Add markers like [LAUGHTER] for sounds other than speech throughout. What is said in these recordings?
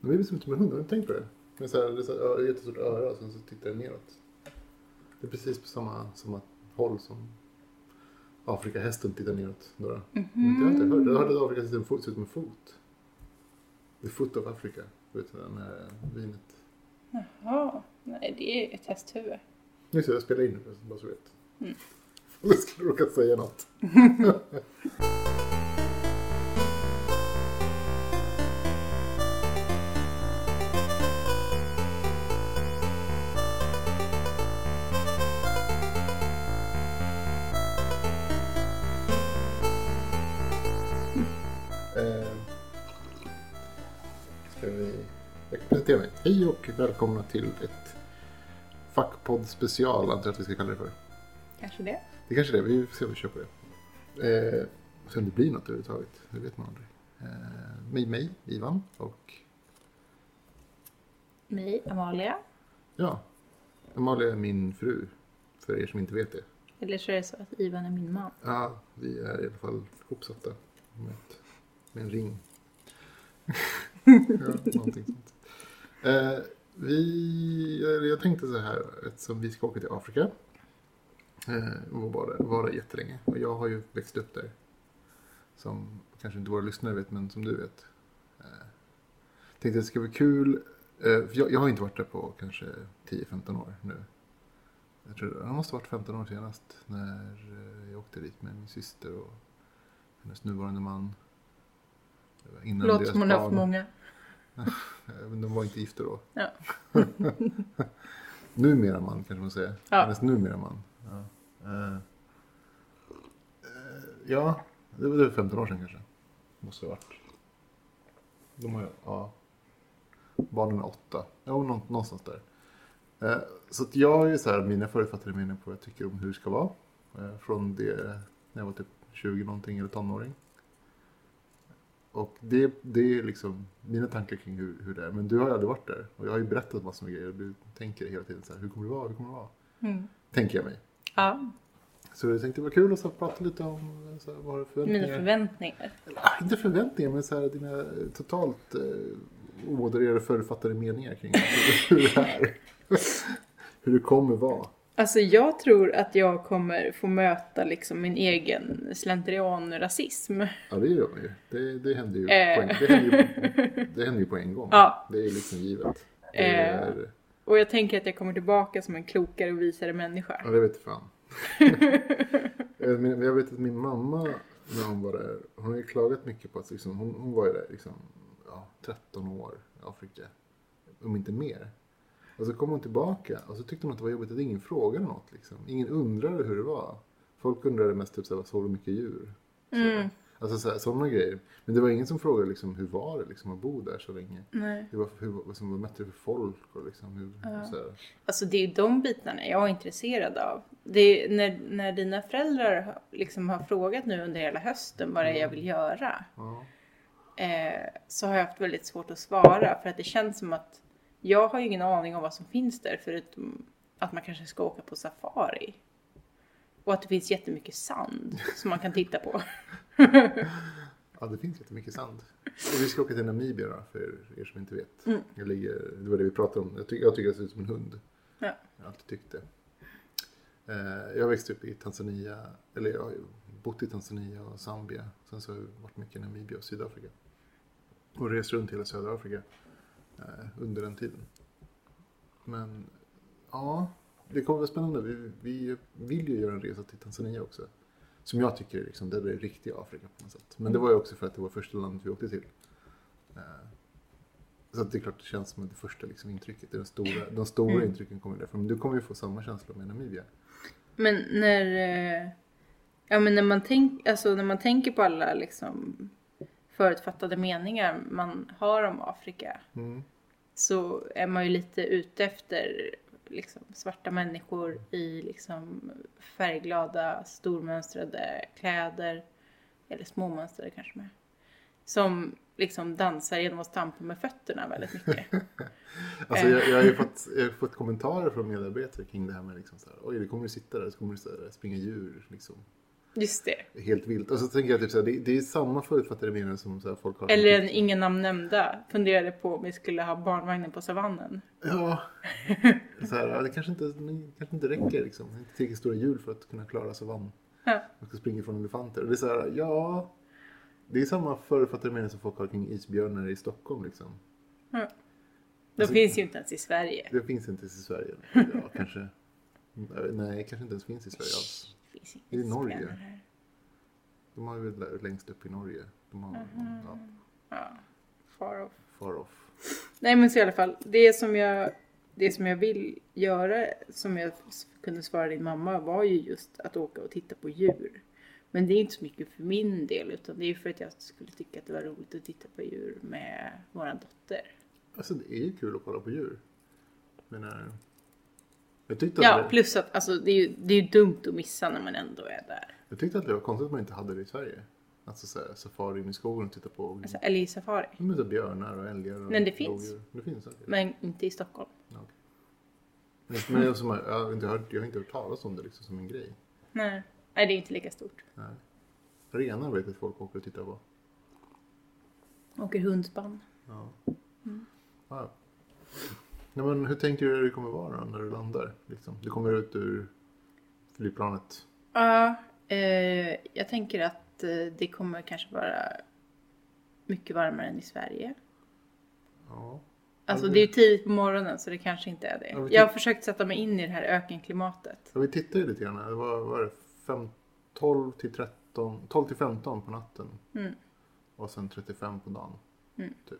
Men det är som som en hund, har du tänkt på det? Med så här, det är så här, ö- jättestort öra och sen så tittar den neråt. Det är precis på samma, samma håll som Afrikahästen tittar neråt. Några. Mm. Mm-hmm. Jag har inte hört, jag hörde att Afrika ser en fot- ser ut som en fot. The foot of Africa. Du vet den här vinet. Jaha. Nej, det är ett hästhuvud. Nu ser jag spelar in det, bara så du vet. [LAUGHS] Mm. Jag skulle råka säga något. Eh, Ska vi... Jag kan presentera mig. Hej och välkomna till ett fackpodd special, antar jag att vi ska kalla det för. Kanske det. Det kanske är det, vi får se om vi kör på det. Eh, se om det blir något överhuvudtaget, det vet man aldrig. Eh, med mig, Ivan, och Mig, Amalia. ja, Amalia är min fru, för er som inte vet det. Eller så är det så att Ivan är min man. Ja, vi är i alla fall ihopsatta med, ett, med en ring. ja, någonting sånt. Eh, vi, eller jag tänkte så här, eftersom vi ska åka till Afrika eh, och vara där, vara där jättelänge. Och jag har ju växt upp där. Som kanske inte våra lyssnare vet, men som du vet. Eh, tänkte att det ska bli kul. Eh, för jag, jag har inte varit där på kanske 10-15 år nu. Jag tror han måste ha varit 15 år senast när eh, jag åkte dit med min syster och hennes nuvarande man. Det var Innan Låter deras som hon har haft barn. många. Eh, Men de var inte gifta då. Ja. [LAUGHS] numera man kanske man säger. Ja. Hennes numera man. Ja, Eh, eh, ja det var det var 15 år sedan kanske. Måste ha varit. De har ju, ja. Barnen är åtta. Ja, nå- någonstans där. Eh, Så att jag är ju så här, mina förutfattade meningar på vad jag tycker om hur det ska vara. Eh, Från det när jag var typ 20 någonting eller tonåring. Och det, det är liksom mina tankar kring hur, hur det är. Men du har ju aldrig varit där. Och jag har ju berättat massor med grejer. Och du tänker hela tiden så här, hur kommer det vara, hur kommer det vara? Mm. Tänker jag mig. Ja, Så jag tänkte det var kul att så här, prata lite om eh, så här, vad har du för mina förväntningar? förväntningar. Ah, inte förväntningar, men så här, dina eh, totalt eh, omodererade förutfattade meningar kring hur [LAUGHS] det är. hur det kommer vara. Alltså jag tror att jag kommer få möta liksom min egen slentrian-rasism. Ja, det gör man ju. Det, det händer ju, Eh. på en, det händer ju, det händer ju på en gång. [LAUGHS] Ja. Det är liksom givet. Det Eh. är, Och jag tänker att jag kommer tillbaka som en klokare och visare människa. Ja, det vet fan. Eh, men jag vet att min mamma, när hon var där, hon har ju klagat mycket på att liksom, hon, hon var ju där liksom, ja, 13 år i Afrika, om inte mer. Och så kom hon tillbaka och så tyckte hon att det var jobbigt att ingen frågade något. Liksom. Ingen undrade hur det var. Folk undrade mest typ, så här, vad såg du mycket djur? Så, Mm. Alltså så här, sådana grejer. Men det var ingen som frågade liksom, hur var det liksom, att bo där så länge? Nej. Hur, var- hur, vad som var mötte du för folk? Och, liksom, hur, så här. Alltså det är ju de bitarna jag är intresserad av. Det är när, när dina föräldrar har- liksom har frågat nu under hela hösten vad det är Mm. jag vill göra. Ja. eh, så har jag haft väldigt svårt att svara för att det känns som att jag har ju ingen aning om vad som finns där förutom att man kanske ska åka på safari. Och att det finns jättemycket sand som man kan titta på. [LAUGHS] Ja, det finns jättemycket sand. Och vi ska åka till Namibia då, för er som inte vet. Jag ligger, det var det vi pratade om. Jag, ty- jag tycker jag ser ut som en hund. Ja. Jag har alltid tyckt det. Eh, jag växte upp i Tanzania, eller jag har ju bott i Tanzania och Zambia. Sen så har jag varit mycket i Namibia och Sydafrika. Och rest runt hela södra Afrika eh, under den tiden. Men ja, det kommer vara spännande. Vi, vi vill ju göra en resa till Tanzania också. Som jag tycker är liksom, det är det riktiga Afrika på något sätt. Men det var ju också för att det var första landet vi åkte till. Eh, Så att det är klart det känns som det första liksom, intrycket. Det är den stora, de stora intrycken kommer därifrån. Men du kommer ju få samma känsla med Namibia. Men när, eh, ja, men när, man, tänk, alltså när man tänker på alla liksom, förutfattade meningar man har om Afrika Mm. så är man ju lite ute efter liksom, svarta människor i liksom, färgglada, stormönstrade kläder. Eller småmönstrade kanske med. Som liksom dansar genom att stampa med fötterna [LAUGHS] väldigt mycket. Alltså, jag, jag, har ju fått, jag har fått kommentarer från medarbetare kring det här med liksom så här, oj, det kommer du sitta där, så kommer du så här, springa djur. Liksom. Just det. helt vilt. Och så tänker jag typ så här, det, det är samma förutfattade meningar som så här, folk har. Eller en ingen namn nämnda funderade på om vi skulle ha barnvagnen på savannen. Ja. [LAUGHS] Så här, ja, det kanske inte, men kanske inte räcker liksom. Det är inte tillräckligt stora hjul för att kunna klara savann. Ja. Man ska springa från elefanter. Och det är så här, ja. Det är samma förutfattade meningar som folk har kring isbjörnar i Stockholm liksom. Ja. De Alltså- finns ju inte ens i Sverige. Det finns inte i Sverige. Ja, kanske. Nej, kanske inte ens finns i Sverige alls. Det finns inte Det är ens Norge. björnar här. De har ju där längst upp i Norge. De har Mhm. ja, Ja. Far off. far off. Nej men så i alla fall, det som jag, det som jag vill göra, som jag s- kunde svara din mamma, var ju just att åka och titta på djur. Men det är inte så mycket för min del, utan det är för att jag skulle tycka att det var roligt att titta på djur med våran dotter. Alltså det är ju kul att kolla på djur. Men eh, jag tyckte, Ja, aldrig- plus att alltså, det, är ju, det är ju dumt att missa när man ändå är där. jag tyckte att det var konstigt att man inte hade det i Sverige. Alltså så här, safari in i skogen och titta på Alltså, eller i safari. men så björnar och älgar och Men det finns. rådjur. Det finns säkert. Men inte i Stockholm. Ja, okej. Men men jag, som, jag, har inte hört, jag har inte hört talas om det liksom som en grej. Nej, Nej det är inte lika stort. Nej. Renar vet jag att folk åker och tittar på. Åker hundspann. Ja. Mm. Ja. Nej, men hur tänker du att det kommer vara då, när du landar? Liksom? Du kommer ut ur flygplanet. Ja, eh, jag tänker att eh, det kommer kanske vara mycket varmare än i Sverige. Ja. Alltså Ja, det är ju tidigt på morgonen så det kanske inte är Ja, men det. ty- Jag har försökt sätta mig in i det här ökenklimatet. Ja, vi tittade ju lite grann. här. Det var, vad var det, fem, 12 till 13, 12 till 15 på natten. Mm. Och sen 35 på dagen. Mm. Typ.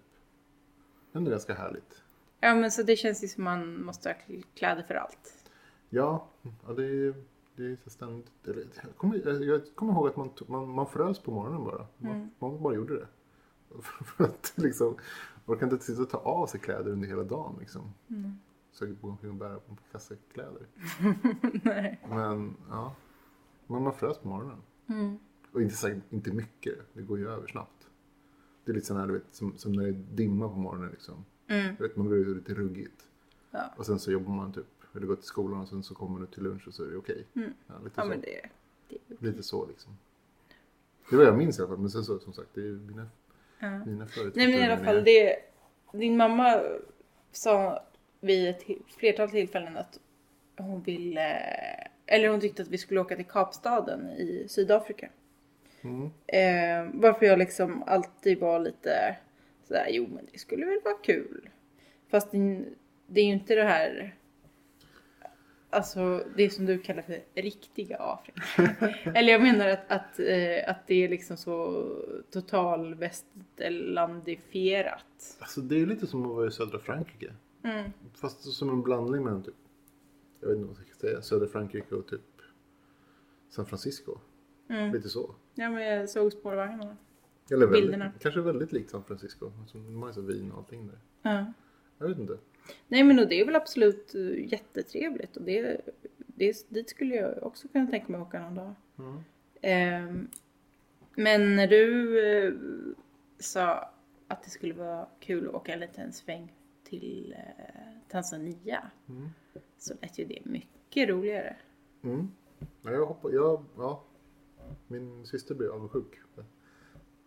Men det är ganska härligt. Ja men så det känns ju som man måste ha kl- kläder för allt. Ja, ja det är, det är så ständigt. Eller, jag, kommer, jag kommer ihåg att man, tog- man, man frös på morgonen bara. Man, man bara gjorde det. [LAUGHS] För att liksom, man kan inte sitta och ta av sig kläder under hela dagen liksom. Mm. Så jag går omkring och bära på en kasse kläder. Nej. Men ja, men man frös på morgonen. Mm. Och inte, sagt- inte mycket, det går ju över snabbt. Det är lite sån här, du vet, som, som när det är dimma på morgonen liksom. Mm. Du vet, man går ut och det är lite ruggigt. Ja. Och sen så jobbar man typ, eller går till skolan och sen så kommer du till lunch och så är det okej. Mm. Ja, lite, Ja så, men det, det lite så liksom. Det var jag minns i alla fall, men sen så som sagt, det är ju mina, ja. mina Nej men i alla fall, det, din mamma sa vid ett till- flertal tillfällen att hon ville, eller hon tyckte att vi skulle åka till Kapstaden i Sydafrika. Mm. Eh, varför jag liksom alltid var lite sådär, jo men det skulle väl vara kul. Fast det, det är ju inte det här, alltså det som du kallar för riktiga [LAUGHS] Afrika. Eller jag menar att, att, eh, att det är liksom så total västerlandifierat. Alltså det är ju lite som att vara i södra Frankrike. Mm. Fast som en blandning mellan typ, jag vet inte vad jag ska säga, södra Frankrike och typ San Francisco. Mm. Lite så. Ja men jag såg spårvagnarna. Eller Bilderna. väldigt, kanske väldigt likt San Francisco. Alltså, De har ju så vin och allting där. Ja. Jag vet inte. Nej men och det är väl absolut eh, jättetrevligt och det, det, dit skulle jag också kunna tänka mig att åka någon dag. Mm. Ehm, men när du eh, sa att det skulle vara kul att åka en liten sväng till eh, Tanzania Mm. så lät ju det mycket roligare. Mm. Ja, jag hoppas, jag, ja. Min syster blev avundsjuk.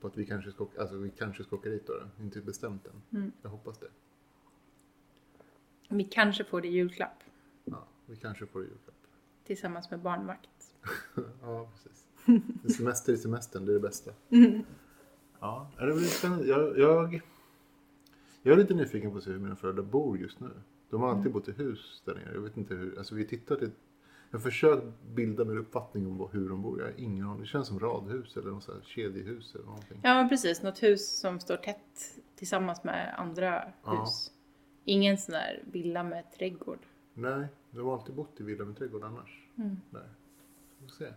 På att vi kanske ska, åka- alltså, vi kanske ska åka dit då. då. Inte bestämt än. Mm. Jag hoppas det. Vi kanske får det i julklapp Ja, vi kanske får det i julklapp. tillsammans med barnvakt. Ja, precis. Semester i semestern, det är det bästa. Ja, det blir spännande. Jag, jag, jag är lite nyfiken på att se hur mina föräldrar bor just nu. De har alltid bott i hus där nere. Jag vet inte hur, alltså vi tittar till, jag har försökt bilda min uppfattning om vad- hur de bor. Jag har ingen aning. Det känns som radhus eller något så här kedjehus eller någonting. Ja men precis, något hus som står tätt tillsammans med andra Ja. hus. Ingen sån där villa med trädgård. Nej, de har alltid bott i villa med trädgård annars. Mm. Där. Vi får se.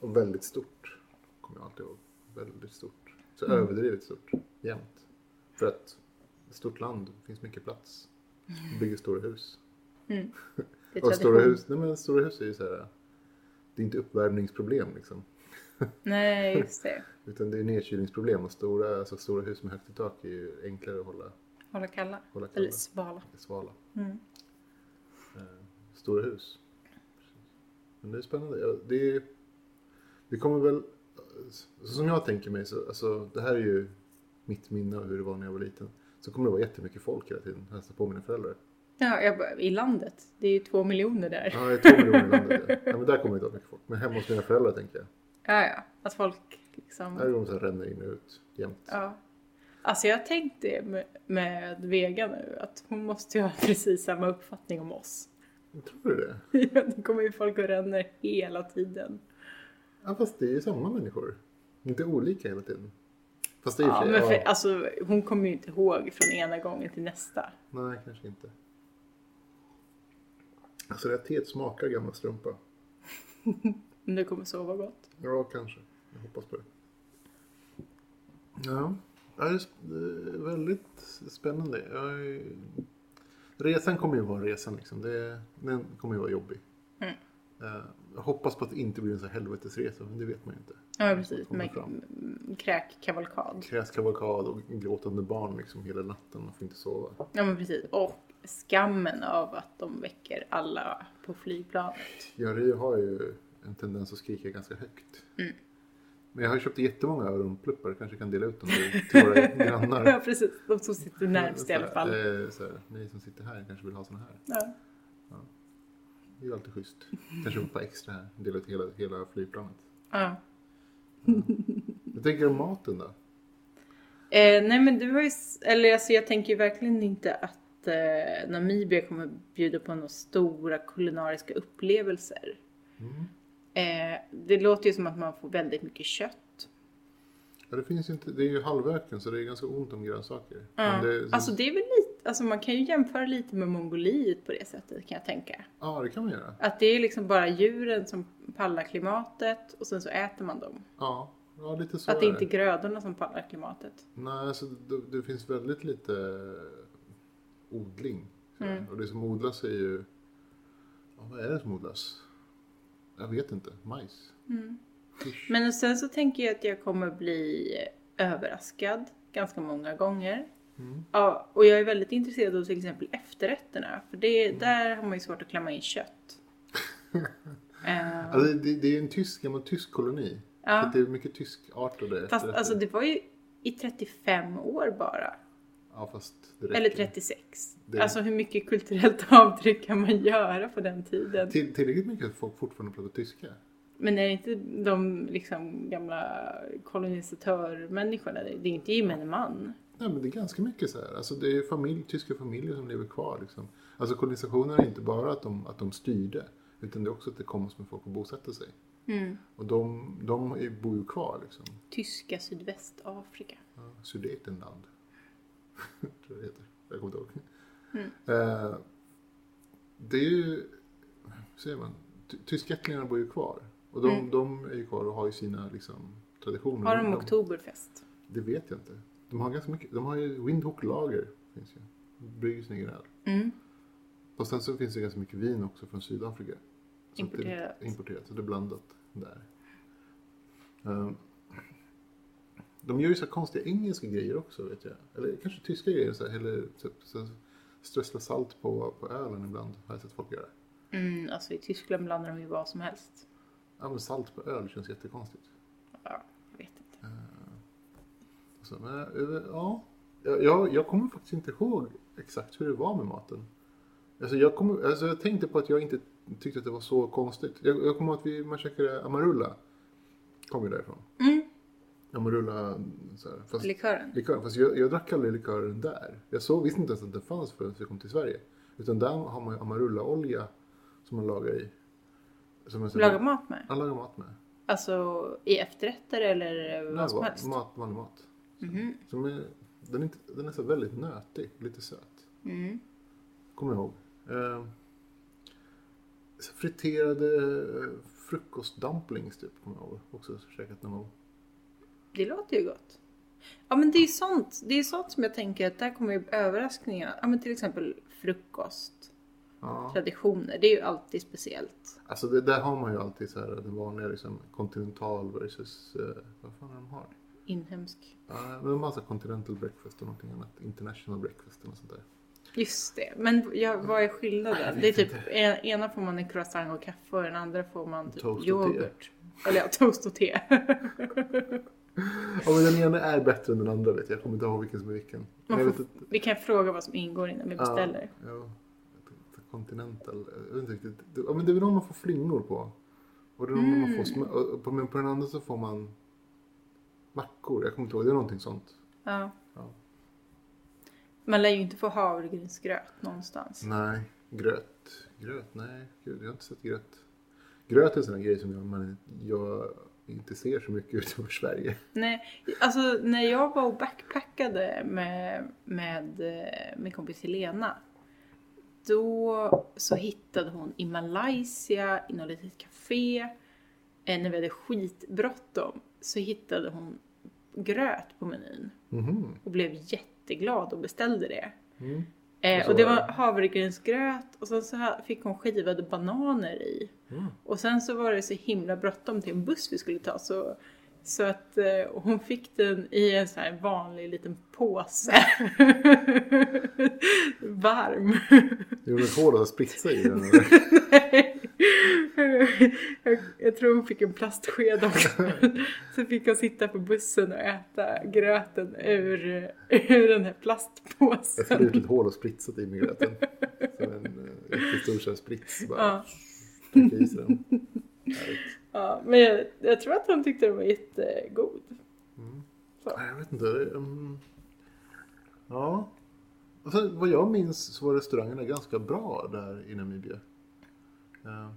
Och väldigt stort. Kommer jag alltid ihåg. Väldigt stort. Så Mm. överdrivet stort. Jämt. För att ett stort land det finns mycket plats. Vi Bygger stora hus. Mm. Det är Och tradition. stora hus, nej men stora hus är ju så här. Det är inte uppvärmningsproblem liksom. Nej, just det. Utan det är nedkylningsproblem och stora, alltså stora hus med högt i tak är ju enklare att hålla, Hålla kalla. hålla kalla. Eller svala. svala. Mm. Eh, stora hus. Men det är spännande. Ja, Det är, Vi kommer väl, så som jag tänker mig, så, alltså, det här är ju mitt minne av hur det var när jag var liten. Så kommer det vara jättemycket folk hela tiden, hälsa på mina [LAUGHS] föräldrar. Ja, jag, bara, i landet. Det är ju två miljoner där. Ja, det är två miljoner i landet. Ja. Ja, men där kommer det inte vara mycket folk. Men hemma hos mina föräldrar tänker jag. Ja, ja. Att folk Där liksom... kommer de ränna in och ut jämt. Ja. Alltså jag tänkte det med, med Vega nu, att hon måste ju ha [LAUGHS] precis samma uppfattning om oss. [LAUGHS] Tror du det? det kommer ju folk och ränner hela tiden. Ja, fast det är ju samma människor. Inte olika hela tiden. Fast det är ju Ja, för men sig, för, ja, alltså, hon kommer ju inte ihåg från ena gången till nästa. Nej, kanske inte. Alltså det här teet smakar gammal strumpa. Men du kommer sova gott. Ja, kanske. Jag hoppas på det. Ja, Ja, det är sp- det är väldigt spännande. Jag är... Resan kommer ju vara resan liksom. Det, den kommer ju vara jobbig. Mm. Eh, Jag hoppas på att det inte blir en sån här helvetesresa, men det vet man ju inte. Ja, precis. Kommer Med fram. mm, kräkkavalkad. Kräskavalkad och gråtande barn liksom hela natten och får inte sova. Ja, men precis. Och skammen av att de väcker alla på flygplanet. Jari har ju en tendens att skrika ganska högt. Mm. Men jag har köpt jättemånga öronpluppar, kanske kan dela ut dem till- [LAUGHS] [LAUGHS] till våra Ja, grannar. precis. De som sitter närmst i alla Så fall. här, eh, Så här, ni som sitter här kanske vill ha såna här. Ja. Det är ju alltid schysst. Kanske ett par extra här, dela ut hela, hela flygplanet. ja. Jag tänker om maten då. Eh, nej men du var ju, s- eller alltså jag tänker ju verkligen inte att eh, Namibia kommer bjuda på några stora kulinariska upplevelser. Eh, det låter ju som att man får väldigt mycket kött. Ja, det finns ju inte, det är ju halvöken så det är ganska ont om grönsaker. Ja. Men det, Alltså det är väl lite, alltså man kan ju jämföra lite med Mongoliet på det sättet kan jag tänka. ja, det kan man göra. Att det är liksom bara djuren som pallar klimatet och sen så äter man dem. Ja, ja lite så att det är inte är grödorna som pallar klimatet. Nej, alltså det, det finns väldigt lite odling. så Mm. här. Och det som odlas är ju... Ja, vad är det som odlas? Jag vet inte. Majs? Fisk. Mm. Men sen så tänker jag att jag kommer bli överraskad ganska många gånger. Mm. Ja, och jag är väldigt intresserad av till exempel efterrätterna. För det, Mm. där har man ju svårt att klämma [LAUGHS] in kött. Eh, Alltså, det, det är en tysk, gammal tysk koloni. Ja. Så att det är mycket tyskartade fast efterrätter. alltså det var ju i 35 år bara. Ja, fast det räcker. Eller 36. Det- Alltså hur mycket kulturellt [LAUGHS] avtryck kan man göra på den tiden? Till, tillräckligt mycket att folk fortfarande pratar tyska. Men är det inte de liksom gamla kolonisatörmänniskorna? Det är inte gemene man. Nej, men det är ganska mycket så här. Alltså, det är ju familj, tyska familjer som lever kvar. Liksom. Alltså kolonisationen är inte bara att de, att de styrde. Utan det är också att det kom som folk och bosatte sig. Och de, de är- bor ju kvar liksom. Tyska Sydvästafrika. Ja, Sudetenland. [LAUGHS] Tror jag det heter. Jag kommer inte ihåg. Mm. Eh, det är ju, hur säger man, Ty- tyskättlingarna bor ju kvar. Och de, de är ju kvar och har ju sina liksom, traditioner. Mm. Har de oktoberfest? Det vet jag inte. De har ganska mycket. De har ju Windhoek Lager. Finns ju. Brygger sin egen öl. Mm. Och sen så finns det ganska mycket vin också från Sydafrika. Så att det- Importerat. importerat, så det är blandat där. Ehm, De gör ju så här konstiga engelska grejer också vet jag. Eller kanske tyska grejer. Så här, eller typ, så här, strössla salt på, på ölen ibland har jag sett folk göra. Mm, alltså i Tyskland blandar de ju vad som helst. Ja men salt på öl känns jättekonstigt. Ja, jag vet inte. Så, men, eh, ja, jag- jag, jag kommer faktiskt inte ihåg exakt hur det var med maten. Alltså jag, kommer, alltså jag tänkte på att jag inte tyckte att det var så konstigt. Jag, jag kommer ihåg att vi, man käkade Amarula. Kom ju därifrån. Mm. Amarula, så här, fast, Likören? likör, fast jag, jag drack aldrig likören där. Jag såg, visste inte ens att den fanns förrän vi kom till Sverige. Utan där har man ju Amarulla-olja som man lagar i. Som man Laga mat med? Man lagar mat med. Alltså i efterrätter eller vad Nej, som va- helst? Mhm. Mat, vanlig mat. Som är, den, är inte, den är så väldigt nötig, lite söt. Mm. Kommer jag ihåg. Eh, så friterade eh, frukostdumplings typ, kommer jag ihåg. Också käkat någon gång. Det låter ju gott. Ja men det är sånt, det är sånt som jag tänker att där kommer ju överraskningar. Ja men till exempel frukost, Ja. traditioner, det är ju alltid speciellt. Alltså det, där har man ju alltid så här den vanliga liksom kontinental versus, eh, vad fan är de har? Inhemsk. Ja, men en massa continental breakfast och någonting annat. International breakfast och sånt där. Just det, men jag, vad är skillnaden? Det är typ, en, ena får man en croissant och kaffe och den andra får man typ Toast och te. yoghurt. Eller ja, [LAUGHS] toast och te. Ja, men den ena är bättre än den andra vet jag. Jag kommer inte ihåg vilken som är vilken. Man jag får- vet inte. Vi kan fråga vad som ingår innan vi Ja. beställer. Ja, Continental. Jag vet inte riktigt. Ja, men det är väl någon man får flingor på. Och det är någon man Mm. får smör. och- och på- Men på den andra så får man mackor. Jag kommer inte ihåg. Det är någonting sånt. Ja. Ja. Man lär ju inte få havregrynsgröt någonstans. Nej, gröt. Gröt? Nej, gud, jag har inte sett gröt. Gröt är en sån här grej som jag, man, jag inte ser så mycket [LAUGHS] utanför Sverige. Nej, alltså när jag var och backpackade med, med eh, min kompis Helena. Då så hittade hon i Malaysia, i något litet café, eh, när vi hade skitbråttom, så hittade hon gröt på menyn Mhm. och blev jätteglad och beställde det. Mm. Och Eh, så och det var var det. havregrynsgröt och sen så här fick hon skivade bananer i. Mm. Och sen så var det så himla bråttom till en buss vi skulle ta så, så att eh, hon fick den i en sån här vanlig liten påse. [LAUGHS] Varm. Det gjorde ett hål och spritsa i [LAUGHS] den. jag, jag tror hon fick en plastsked också. så fick hon sitta på bussen och äta gröten ur, ur den Jag skulle här plastpåsen. gjort ett typ hål och spritsat i med gröten. Som en eh, jättestor sån här sprits. Bara Ja. trycka i sig den. Härligt. Ja, men jag, jag tror att hon tyckte den var jättegod. Mm. Så. Nej, Jag vet inte. det, mm. Ja. Och sen, vad jag minns så var restaurangerna ganska bra där i Namibia. Eh,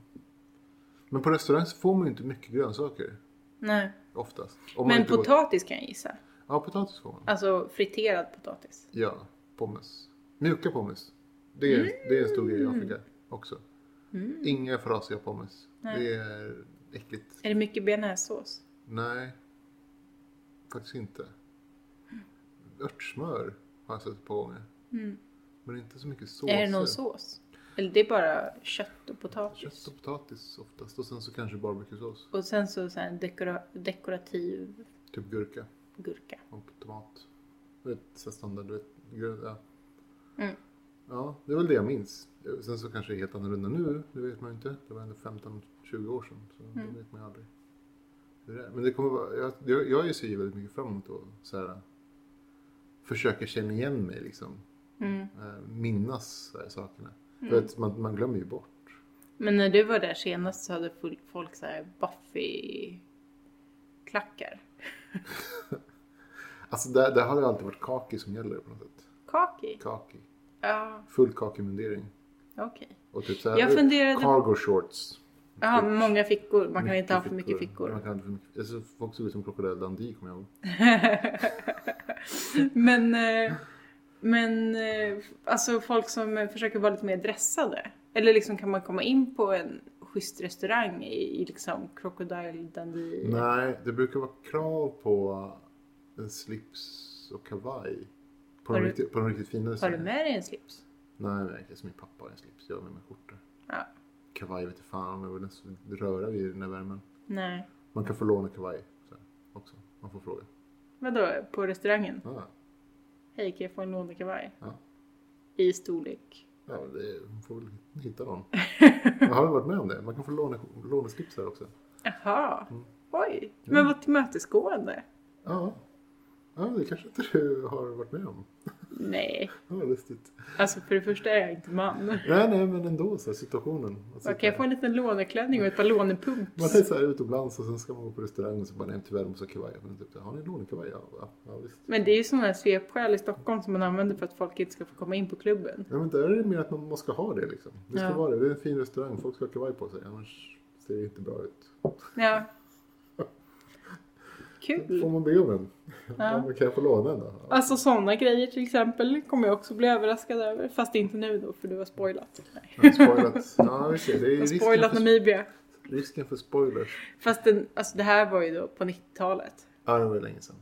Men på restaurang så får man ju inte mycket grönsaker. Nej. Oftast. Om man Men inte går- potatis kan jag gissa. Ja, potatis får man. Alltså friterad potatis. Ja, pommes. Mjuka pommes. Det är, det är en stor grej i Afrika också. Mm. Inga frasiga pommes. Nej. Det är äckligt. Är det mycket bearnaisesås? Nej, faktiskt inte. Örtsmör har jag sett ett par gånger. Mm. Men inte så mycket såser. Är det någon sås? Eller det är bara kött och potatis? Kött och potatis oftast och sen så kanske barbecuesås. Och sen så, så här en dekora- dekorativ Typ gurka gurka. och tomat. Du vet, så här standard, du vet, gröd, ja. Mm. ja, det är väl det jag minns. Sen så kanske det är helt annorlunda nu, det vet man ju inte. Det var ändå 15-20 år sedan, så Mm. det vet man ju aldrig. Hur det är. Men det kommer vara, jag, jag, jag ser ju väldigt mycket fram emot att så här, försöka känna igen mig liksom. Mm. eh, minnas de här sakerna. Mm. För att man, man glömmer ju bort. Men när du var där senast så hade full- folk så här Buffy-klackar. Alltså där, där har det alltid varit kaki som gäller på något sätt. Kaki? Kaki. Ja, Full kakimundering. okej. Och typ så här, Jag funderade... cargo shorts. Ja, Typ. många fickor. Man kan inte ha för mycket Man fickor. kan inte ha för mycket. Alltså, folk såg ut som Crocodile Dundee kommer jag ihåg. men, eh, men eh, alltså folk som eh, försöker vara lite mer dressade. Eller liksom kan man komma in på en schysst restaurang i, i liksom Crocodile Dundee? Nej, det brukar vara krav på eh, en slips och kavaj. På Har de du- riktigt, på de riktigt fina Har du restaurangerna. med dig en slips? Nej, nej, det är som min pappa har en slips. Jag har med mig skjorta. Ja. Kavaj vete fan om jag vill ens röra vid den här värmen. Nej. Man kan få låna kavaj så här, också. Man får fråga. Ah, Vadå, på restaurangen? Ja, Hej, kan jag få en lånekavaj? Ja. I storlek? ja det man får väl hitta någon. Jag har väl varit med om det. Man kan få låna, låneslipsar också. Jaha. Mm. Oj, Mm. men vad tillmötesgående. Ja. ja, det kanske inte du har varit med om. Nej, Ja, vad lustigt. alltså för det första är jag inte man. Nej, nej, men ändå så här, situationen. Att Vad, sitta- Kan jag få en liten låneklänning och ett par Man lånepumps? är så här utomlands och sen ska man gå på restaurang och så bara nej tyvärr måste jag ha kavaj. Men typ, så här, har ni lånekavaj? Ja, va? ja visst. Men det är ju sådana här svepskäl i Stockholm som man använder för att folk inte ska få komma in på klubben. Ja, men där är det mer att man måste ha det liksom. Det ska Ja. vara det. Det är en fin restaurang. Folk ska ha kavaj på sig. Annars ser det inte bra ut. Ja. Får Kul. man be om en? Ja. Mm. Ja. men kan jag få låna en då? Ja. Alltså sådana grejer till exempel kommer jag också bli överraskad över. Fast inte nu då för du har spoilat. Nej. Ja, Spoilat. Ja, vi ser. Det Jag är har risken spoilat för, Namibia. risken för spoilers. Fast den, alltså det här var ju då på 90-talet. Ja, det var ju länge sedan.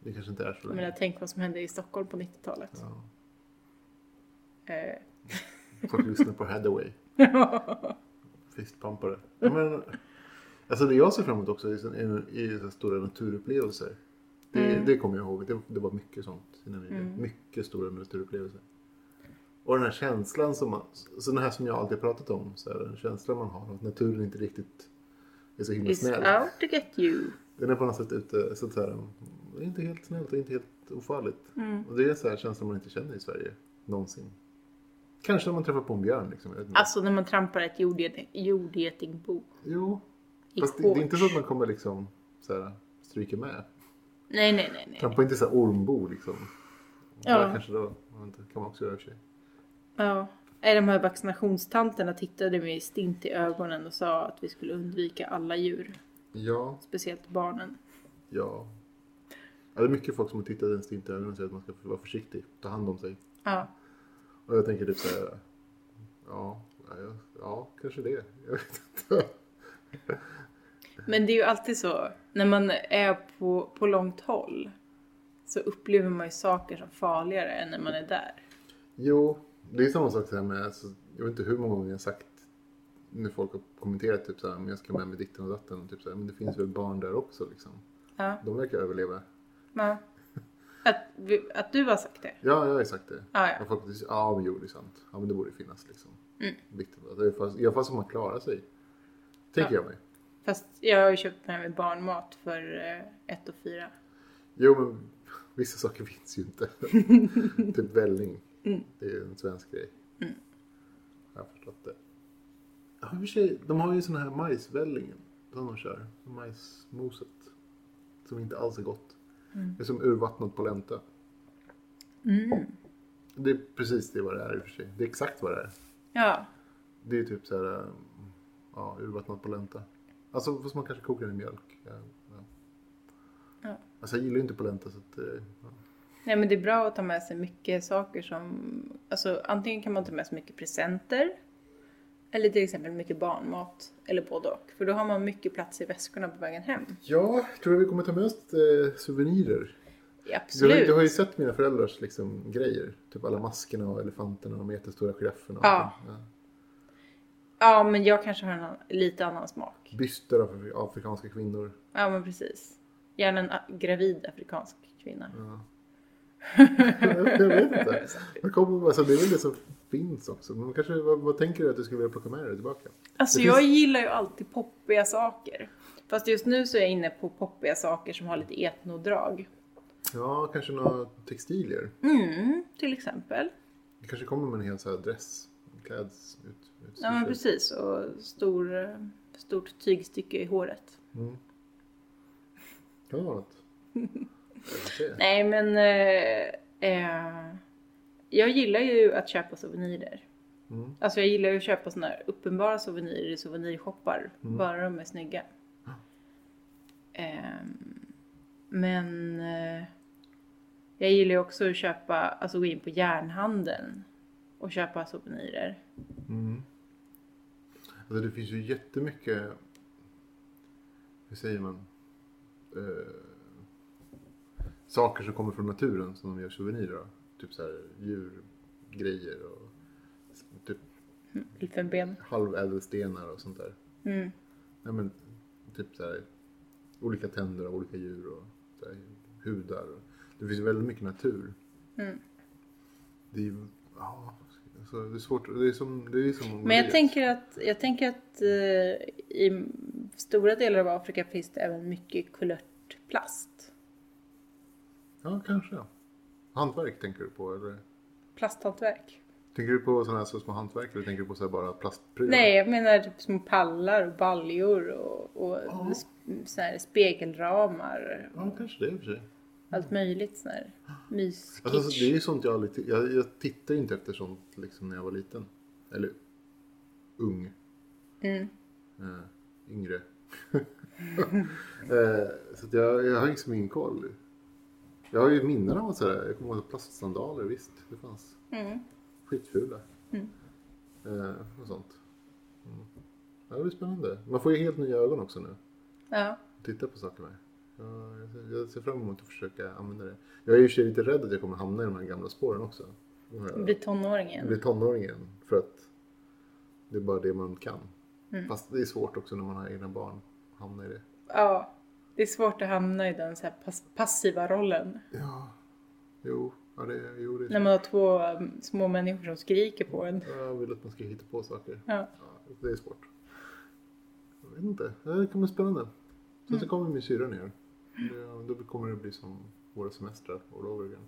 Det kanske inte är så Jag länge. menar tänk vad som hände i Stockholm på 90-talet. Ja. Eh, Folk lyssnar på [LAUGHS] Hathaway. Fistpumpare. Ja, men, alltså det jag ser fram emot också är, så- är, är så här stora naturupplevelser. Det, Mm. det kommer jag ihåg. Det, det var mycket sånt i Namibia. Mm. Mycket stora naturupplevelser. Och den här känslan som man, så den här som jag alltid pratat om, så här, den känslan man har av att naturen inte riktigt är är så himla Is snäll. out to get you. Den är på något sätt ute, så att säga, det är inte helt snällt och inte helt ofarligt. Mm. Och det är så här känslan man inte känner i Sverige någonsin. Kanske när man träffar på en björn liksom. jag vet inte. Alltså när man trampar ett jordgeting, jordgetingbo Jo, i fast det, det shorts. är inte så att man kommer liksom så här, stryka med. Nej, nej, nej. nej. Trampa inte så här ormbo liksom. Ja. Där kanske då, jag vet inte, kan man också göra i och för sig. Ja. Nej, De här vaccinationstanterna tittade med stint i ögonen och sa att vi skulle undvika alla djur. Ja, Speciellt barnen. ja. Ja, det är mycket folk som har tittat ens inte i ögonen och säger att man ska vara försiktig, ta hand om sig. Ja. Och jag tänker typ så här, ja, ja, ja, ja kanske det. Jag vet inte. Men det är ju alltid så, när man är på, på långt håll så upplever man ju saker som farligare än när man är där. Jo, det är samma sak så här med, alltså, jag vet inte hur många gånger jag har sagt när folk har kommenterat typ så här, men jag ska med med ditten och datten och typ så här, men det finns väl barn där också liksom. Ja. De verkar överleva. ja. Att, vi, att du har sagt det? Ja, jag har ju sagt det. Ja, Ja, ja. folk, ja men jo, det är sant. Ja, men det borde ju finnas liksom. Mm. Viktigt. Alltså, i alla fall- I alla fall så man klarar sig. Tänker jag mig. Fast jag har ju köpt med mig barnmat för eh, ett och fyra. Jo, men vissa saker finns ju inte. typ välling. Det är ju en svensk grej. Jag har förstått det. Ja, i och för sig, de har ju sån här majsvällingen som de kör. Majsmoset. Som inte alls är gott. Det är som urvattnat polenta. Mm. Det är precis det vad det är i och för sig. Det är exakt vad det är. Ja, Det är typ så här, eh, ja, urvattnat polenta. Alltså fast man kanske kokar den i mjölk. Ja, ja. Ja. Alltså jag gillar ju inte polenta så att, eh, ja. Nej men det är bra att ta med sig mycket saker som, alltså antingen kan man ta med sig mycket presenter eller till exempel mycket barnmat eller både och. För då har man mycket plats i väskorna på vägen hem. Ja, tror du vi kommer ta med oss eh, souvenirer? Du har, Absolut. ju- du har ju sett mina föräldrars liksom, grejer. Typ alla maskerna och elefanterna och de jättestora girafferna. och Ja. allting. Ja. Ja men jag kanske har en annan, lite annan smak. Byster av afri- afrikanska kvinnor. Ja men precis. Gärna en a- gravid afrikansk kvinna. Ja. [LAUGHS] jag vet inte. Jag kommer, alltså, det är väl det som finns också. Men kanske, vad, vad tänker du att du skulle vilja plocka med dig tillbaka? Alltså Det jag finns- gillar ju alltid poppiga saker. Fast just nu så är jag inne på poppiga saker som har lite etnodrag. Ja, kanske några textilier. Mm, till exempel. Det kanske kommer med en hel så här dress. Kläds, ut, Ja men precis och stor, eh, stort tygstycke i håret. Mm. Kan det vara [LAUGHS] något? Jag får se. Nej men eh, eh, jag gillar ju att köpa souvenirer. Mm. Alltså jag gillar ju att köpa sådana här uppenbara souvenirer i souvenirshoppar. Bara de är snygga. Ehm, men eh, jag gillar ju också att köpa, alltså gå in på järnhandeln och köpa souvenirer. Mm. Alltså det finns ju jättemycket, hur säger man, eh, saker som kommer från naturen som de gör souvenirer av. Typ så här djurgrejer och s- typ Elfenben. halvädelstenar och sånt där. Mm. Nej men typ så här olika tänder av olika djur och så här, hudar. Och, det finns ju väldigt mycket natur. Mm. Det är ju, ja, alltså det är svårt, det är som, det är som Men jag Mongoliet. tänker att, jag tänker att eh, i stora delar av Afrika finns det även mycket kulört plast. Ja, kanske. Hantverk tänker du på eller? Plasthantverk. Tänker du på sådana här så små hantverk eller tänker du på så här bara plastprylar? Nej, jag menar typ små pallar och baljor och, och sp- så här spegelramar. Ja, kanske det i och för sig. Allt möjligt sån här myskitsch. Alltså, det är ju sånt jag aldrig... ti- Jag, jag tittar ju inte efter sånt liksom när jag var liten. Eller ung. Mm. Eh, yngre. [LAUGHS] eh, så att jag, jag har liksom ingen koll. Jag har ju minnen av sådär. Jag kommer ihåg plastsandaler, visst. Det fanns. Mm. Skitfula. Eh, och sånt. Mm. Ja, det blir spännande. Man får ju helt nya ögon också nu. Ja. titta på saker med. Ja, jag ser- Jag ser fram emot att försöka använda det. Jag är ju i och för sig lite rädd att jag kommer hamna i de här gamla spåren också. Bli tonåring Bli igen. tonåringen. För att det är bara det man kan. Mm. Fast det är svårt också när man har egna barn. att Hamna i det. Ja. Det är svårt att hamna i den så här pass- passiva rollen. Ja. Jo. Ja, det, jo, det är När man har två um, små människor som skriker på en. svårt. Jag vill att man ska hitta på saker. Ja. Ja, det är svårt. jag vet inte. Det kommer bli spännande. Sen så kommer min syrra ner. Det- Då kommer det bli som våra semestrar all over again.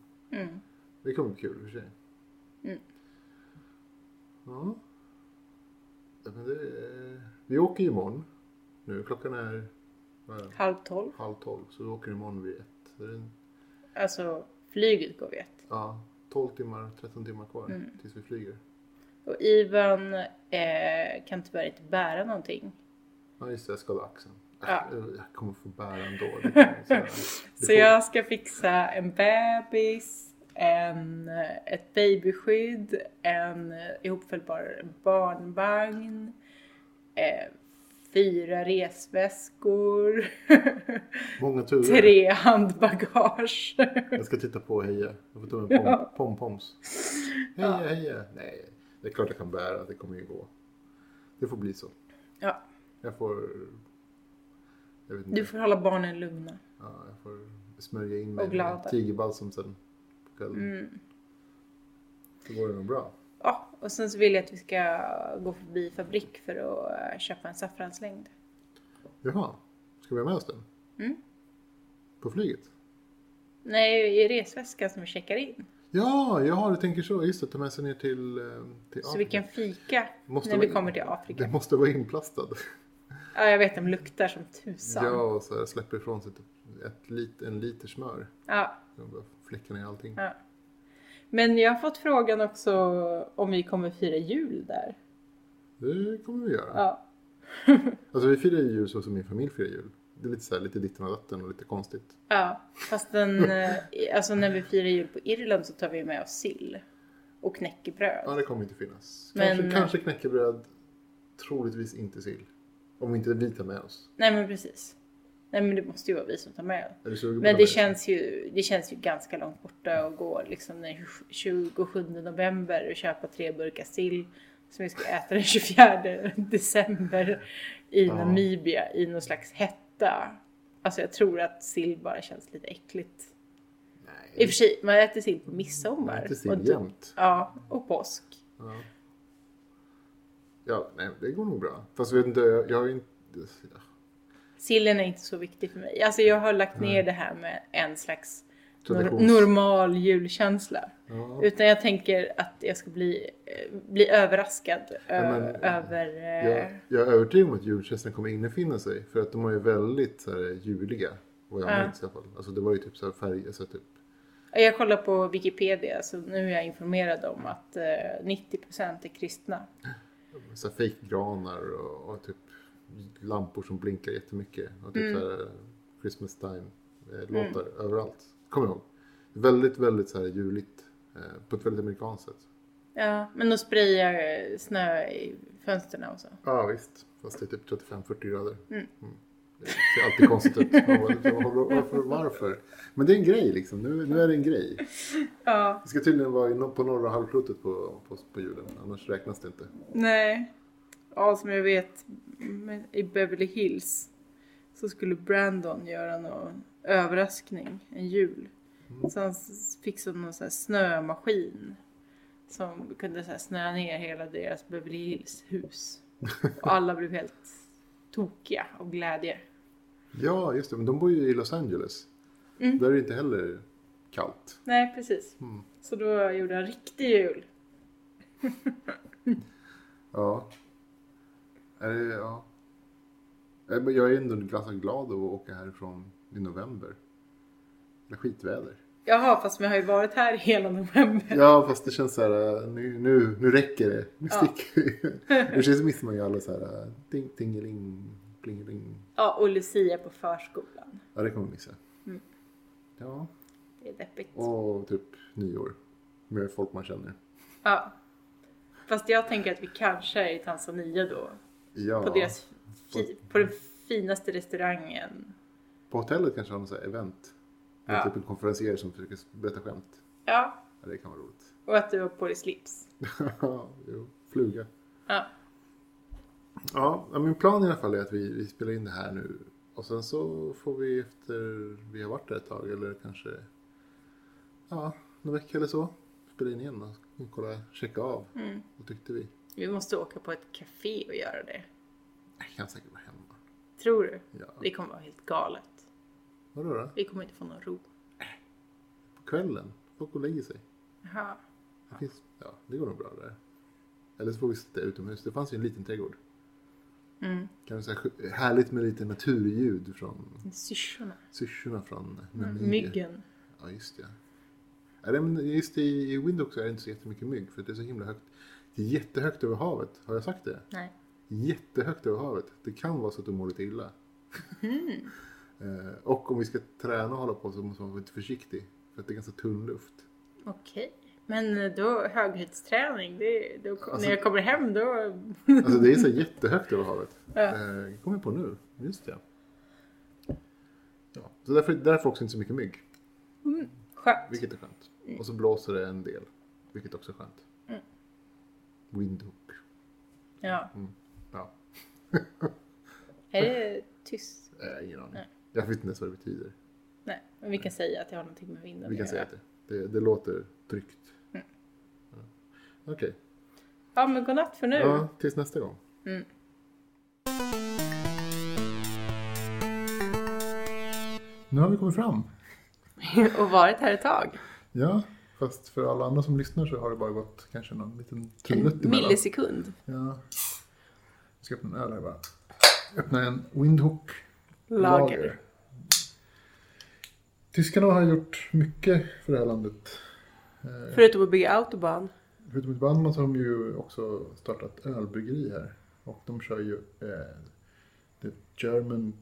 Mm. Det kommer bli kul i och för sig. Mm. Ja. ja men det är... Vi åker ju imorgon. Nu klockan är vad är det? Halv tolv. halv tolv så vi åker imorgon vid ett. Så det är en, Alltså flyget går vid ett. ja, 12 timmar, 13 timmar kvar Mm. tills vi flyger. Och Ivan eh, kan tyvärr inte bära någonting. Ja just det, jag skadade axeln. Ja. Äh, Jag kommer få bära [LAUGHS] ändå. Det kommer, så här. Det Så får- jag ska fixa en bebis, en, ett babyskydd, en ihopfällbar barnvagn, eh, fyra resväskor, [LAUGHS] Många turer. tre handbagage. Jag ska titta på och heja. Jag får ta [LAUGHS] med pom- Ja. pompoms. Heja, heja. Nej, det är klart jag kan bära. Det kommer ju gå. Det får bli så. Ja, Jag får... Jag vet inte. du får hålla barnen lugna. Ja, jag får smörja in mig Och glada. Mm. med tigerbalsam sen på kvällen. Så går det nog bra. Ja, och sen så vill jag att vi ska gå förbi fabrik för att eh, köpa en saffranslängd. Jaha, ska vi ha med oss den? Mm. På flyget? Nej, i resväskan som vi checkar in. Ja, ja, du tänker så. Just det, ta med sig ner till, eh, till Så vi kan fika Måste när vi- vi kommer till Afrika. Den måste vara inplastad. Ja, jag vet, de luktar som tusan. Ja, och så här, släpper ifrån sig typ ett lit, en liter smör. Ja, Jag bara fläckar ner allting. ja. Men jag har fått frågan också om vi kommer fira jul där. Det kommer vi göra. Ja. Alltså vi firar ju jul så som min familj firar jul. Det är lite så här, lite ditten och datten och lite konstigt. ja. [LAUGHS] Fast den, eh, alltså när vi firar jul på Irland så tar vi med oss sill och knäckebröd. Ja, det kommer inte finnas. Men- Kanske, kanske knäckebröd, troligtvis inte sill. Om inte vi tar med oss. Nej, men precis. Nej, men det måste ju vara vi som tar med oss. Är du sugen på att Men ta det med känns, ju, det känns ju ganska långt borta att gå liksom den 27 november och köpa tre burkar sill som vi ska äta den 24 [LAUGHS] december i Ja. Namibia i någon slags hetta. Alltså jag tror att sill bara känns lite äckligt. I och Nej, för sig, man äter sill på Mm. man midsommar. äter och, typ- sill då- jämt. Ja, och påsk. Ja. ja, nej, det går nog bra. Fast jag vet inte, jag, jag har ju inte... ja. Sillen är inte så viktig för mig. Alltså jag har lagt ner det här med en slags nor- Traditions- normal julkänsla. Ja. Utan jag tänker att jag ska bli, eh, bli överraskad ö- men, eh, över... eh, Jag, jag är övertygad om att julkänslan kommer infinna sig. För att de var ju väldigt så här, juliga. Vad jag Ja. minns i alla fall. Alltså det var ju typ så här färg, alltså typ. Jag kollar på Wikipedia så nu är jag informerad om att eh, 90% är kristna. så här fejkgranar och, och typ lampor som blinkar jättemycket. Och Mm. typ så här Christmas time-låtar överallt. Kommer jag ihåg. Väldigt, väldigt så här juligt. Eh, på ett väldigt amerikanskt sätt. Ja, men de sprayar eh, snö i fönstren och så. Ja, visst. Fast det är typ 35-40 grader. Mm. Det ser alltid konstigt ut. Man bara, liksom, Varför, varför? Men det är en grej liksom. Nu, nu är det en grej. Ja, Det ska tydligen vara i no- på norra halvklotet på, på, på julen. Annars räknas det inte. nej. Ja, som jag vet men i Beverly Hills så skulle Brandon göra någon överraskning en jul. Så han s- fixade någon sån här snömaskin som kunde så här snöa ner hela deras Beverly Hills hus. Och alla blev helt tokiga av glädje. Ja, just det. Men de bor ju i Los Angeles. Där är det inte heller kallt. Nej, precis. Så då gjorde han riktig jul. Ja. Är det, ja. Nej, men Jag är ändå ganska glad att åka härifrån i november. Det är skitväder. Jaha, fast vi har ju varit här hela november. Ja, fast det känns så här, äh, nu, nu, nu räcker det. Nu sticker vi. Nu känns det som att jag alla så här, ding, tingeling, plingeling. Ja, och Lucia på förskolan. Ja, det kommer jag missa. Ja, Det är deppigt. och typ nyår. Med folk man känner. Ja. Fast jag tänker att vi kanske är i Tanzania då. Ja, På, deras fi- på den finaste restaurangen. på hotellet kanske har någon så här event. Med Ja. typ en konferensier som försöker berätta skämt. Ja, Ja, det kan vara roligt. [LAUGHS] och att du har på dig slips. jo, fluga. Ja. Ja, ja, min plan i alla fall är att vi, vi spelar in det här nu. Och sen så får vi efter vi har varit där ett tag eller kanske ja, någon vecka eller så spela in igen och kolla, checka av. Mm. Vad tyckte vi? Vi måste åka på ett café och göra det. Jag kan säkert vara hemma. Tror du? Ja. Det kommer vara helt galet. Vadå då? Vi kommer inte få någon ro. På kvällen? Folk går och lägger sig. Jaha. Det finns, ja, det går nog bra där. Eller så får vi sitta utomhus. Det fanns ju en liten trädgård. Mm. Kan säga, härligt med lite naturljud från Syrsorna. syrsorna från Mm, Namibia. Myggen. Ja, just det. Ja, det- men just i, i Windhoek så är det inte så jättemycket mygg för att det är så himla högt. Det är jättehögt över havet. Har jag sagt det? Nej. Jättehögt över havet. Det kan vara så att du mår lite illa. [LAUGHS] Eh, och om vi ska träna och hålla på så måste man vara lite försiktig. För att det är ganska tunn luft. Okej. eh, Men då höghöjdsträning, det, då, Alltså- när jag kommer hem då... Alltså det är så jättehögt över havet. Ja. Eh, kommer jag på nu. Just det. Ja. Så därför, därför också inte så mycket mygg. Mm. Skönt. Vilket är skönt. Och så blåser det en del. Vilket också är skönt. Mm. Windhoek. Ja. Mm. Ja. Är det tyst? Eh, ingen aning. Nej. Jag vet inte ens vad det betyder. Nej. Men vi kan säga att det har någonting med vinden Vi kan att säga göra. att det. Det, det låter tryggt. Mm. Ja. Okej. Ja men godnatt för nu. [LAUGHS] Ja, tills nästa gång. Mm. Nu har vi kommit fram. Och varit här ett tag. Ja, fast för alla andra som lyssnar så har det bara gått kanske någon liten trudelutt En emellan. millisekund. Ja. Jag ska öppna en öl här bara. Öppna en Windhoek Lager. Tyskarna har gjort mycket för det här landet. Förutom att bygga autobahn. Förutom ett band så har de ju också startat ölbryggeri här. Och de kör ju eh, The German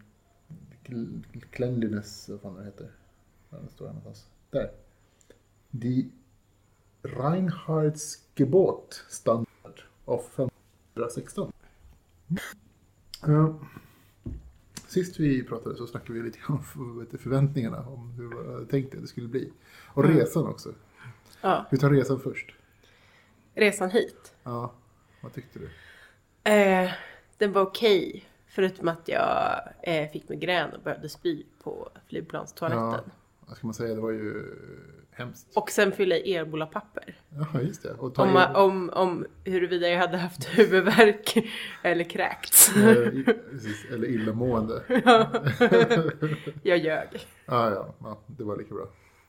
Cl- Cleanliness, vad fan det heter. Ja, det står här någonstans. Där. Die Reinhardsgebot Standard of 516. Ja. Sist vi pratade så snackade vi lite grann om för- vet du, förväntningarna om hur vi tänkte att det skulle bli. Och resan också. Ja. Vi tar resan först. Resan hit. Ja, vad tyckte du? Eh, den var okej. Förutom att jag eh, fick migrän och började spy på flygplanstoaletten. vad ska man säga, det var ju hemskt. Och sen fylla i erbolapapper. Ja, just det. Och ta Om, er- om, om huruvida jag hade haft [LAUGHS] huvudvärk eller kräkts. eh, i- precis, eller [LAUGHS] illamående. jag ljög. Ja, ja, ja, det var lika bra.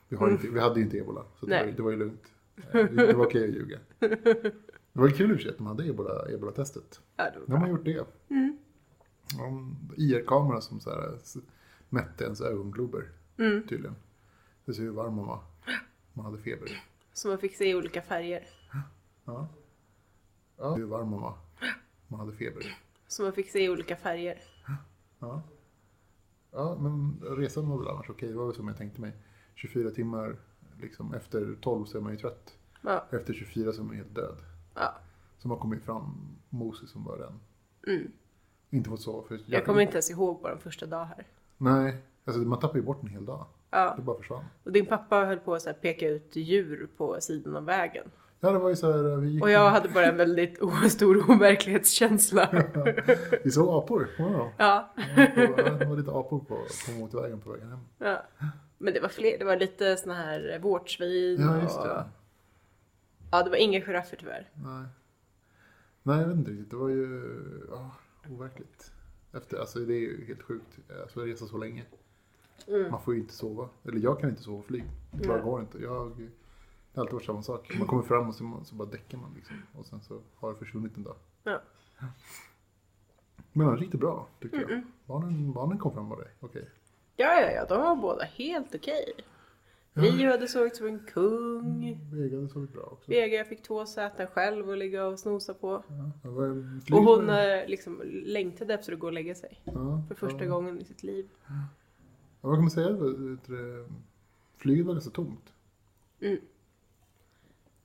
Vi, har inte, vi hade ju inte ebola, så det Nej. var, det var ju lugnt. Eh, Det var okej att ljuga. Det var kul i och för sig att de hade ebola- ebola-testet. Ja, det var de har gjort det. Mm. IR-kamera som så här, s- mätte ens ögonglober, Mm. tydligen. Det ser hur varm man var. Man hade feber. Så man fick se i olika färger. Ja. ja. Hur varm man var. Man hade feber. Så man fick se i olika färger. Ja. Ja, men resan var väl annars okej. Det var väl som jag tänkte mig. 24 timmar, liksom efter 12 så är man ju trött. Ja. Efter 24 så är man helt död. ja. Så man kommer ju fram mosig som bara den. Mm. Inte fått sova för Jag kommer inte ens ihåg vår första dag här. Nej, alltså man tappar ju bort en hel dag. Ja. Det bara försvann. Och din pappa höll på att så här peka ut djur på sidan av vägen. Ja, det var ju så här, vi gick... Och jag hade bara en väldigt o- [LAUGHS] [LAUGHS] stor overklighetskänsla. Vi såg apor. Wow. Ja. Det var- det var lite apor på, på motorvägen på vägen hem. ja. Men det var fler, det var lite såna här vårtsvin Ja, just och... det. Ja, det var inga giraffer tyvärr. Nej. Nej, jag vet inte riktigt. Det var ju ja, overkligt. Efter, alltså det är ju helt sjukt. Alltså att resa så länge. Mm. Man får ju inte sova. Eller jag kan inte sova på flyg. Det bara går inte. Jag, det har alltid varit samma sak. Man kommer fram och så, man, så bara däckar man liksom. Och sen så har det försvunnit en dag. Ja. Men det var riktigt bra tycker jag. Barnen, barnen kom fram var det. Okej. Ja, ja, ja, de var båda helt okej. Rio hade sovit som en kung. Vegan såg bra också. Vega fick två säten själv att ligga och snosa på. Ja, det var en flyg- Och hon eh, liksom längtade efter att gå och lägga sig. ja, För första ja. gången i sitt liv. Ja, vad kan man säga? Vet du det? Flyget var ganska tomt.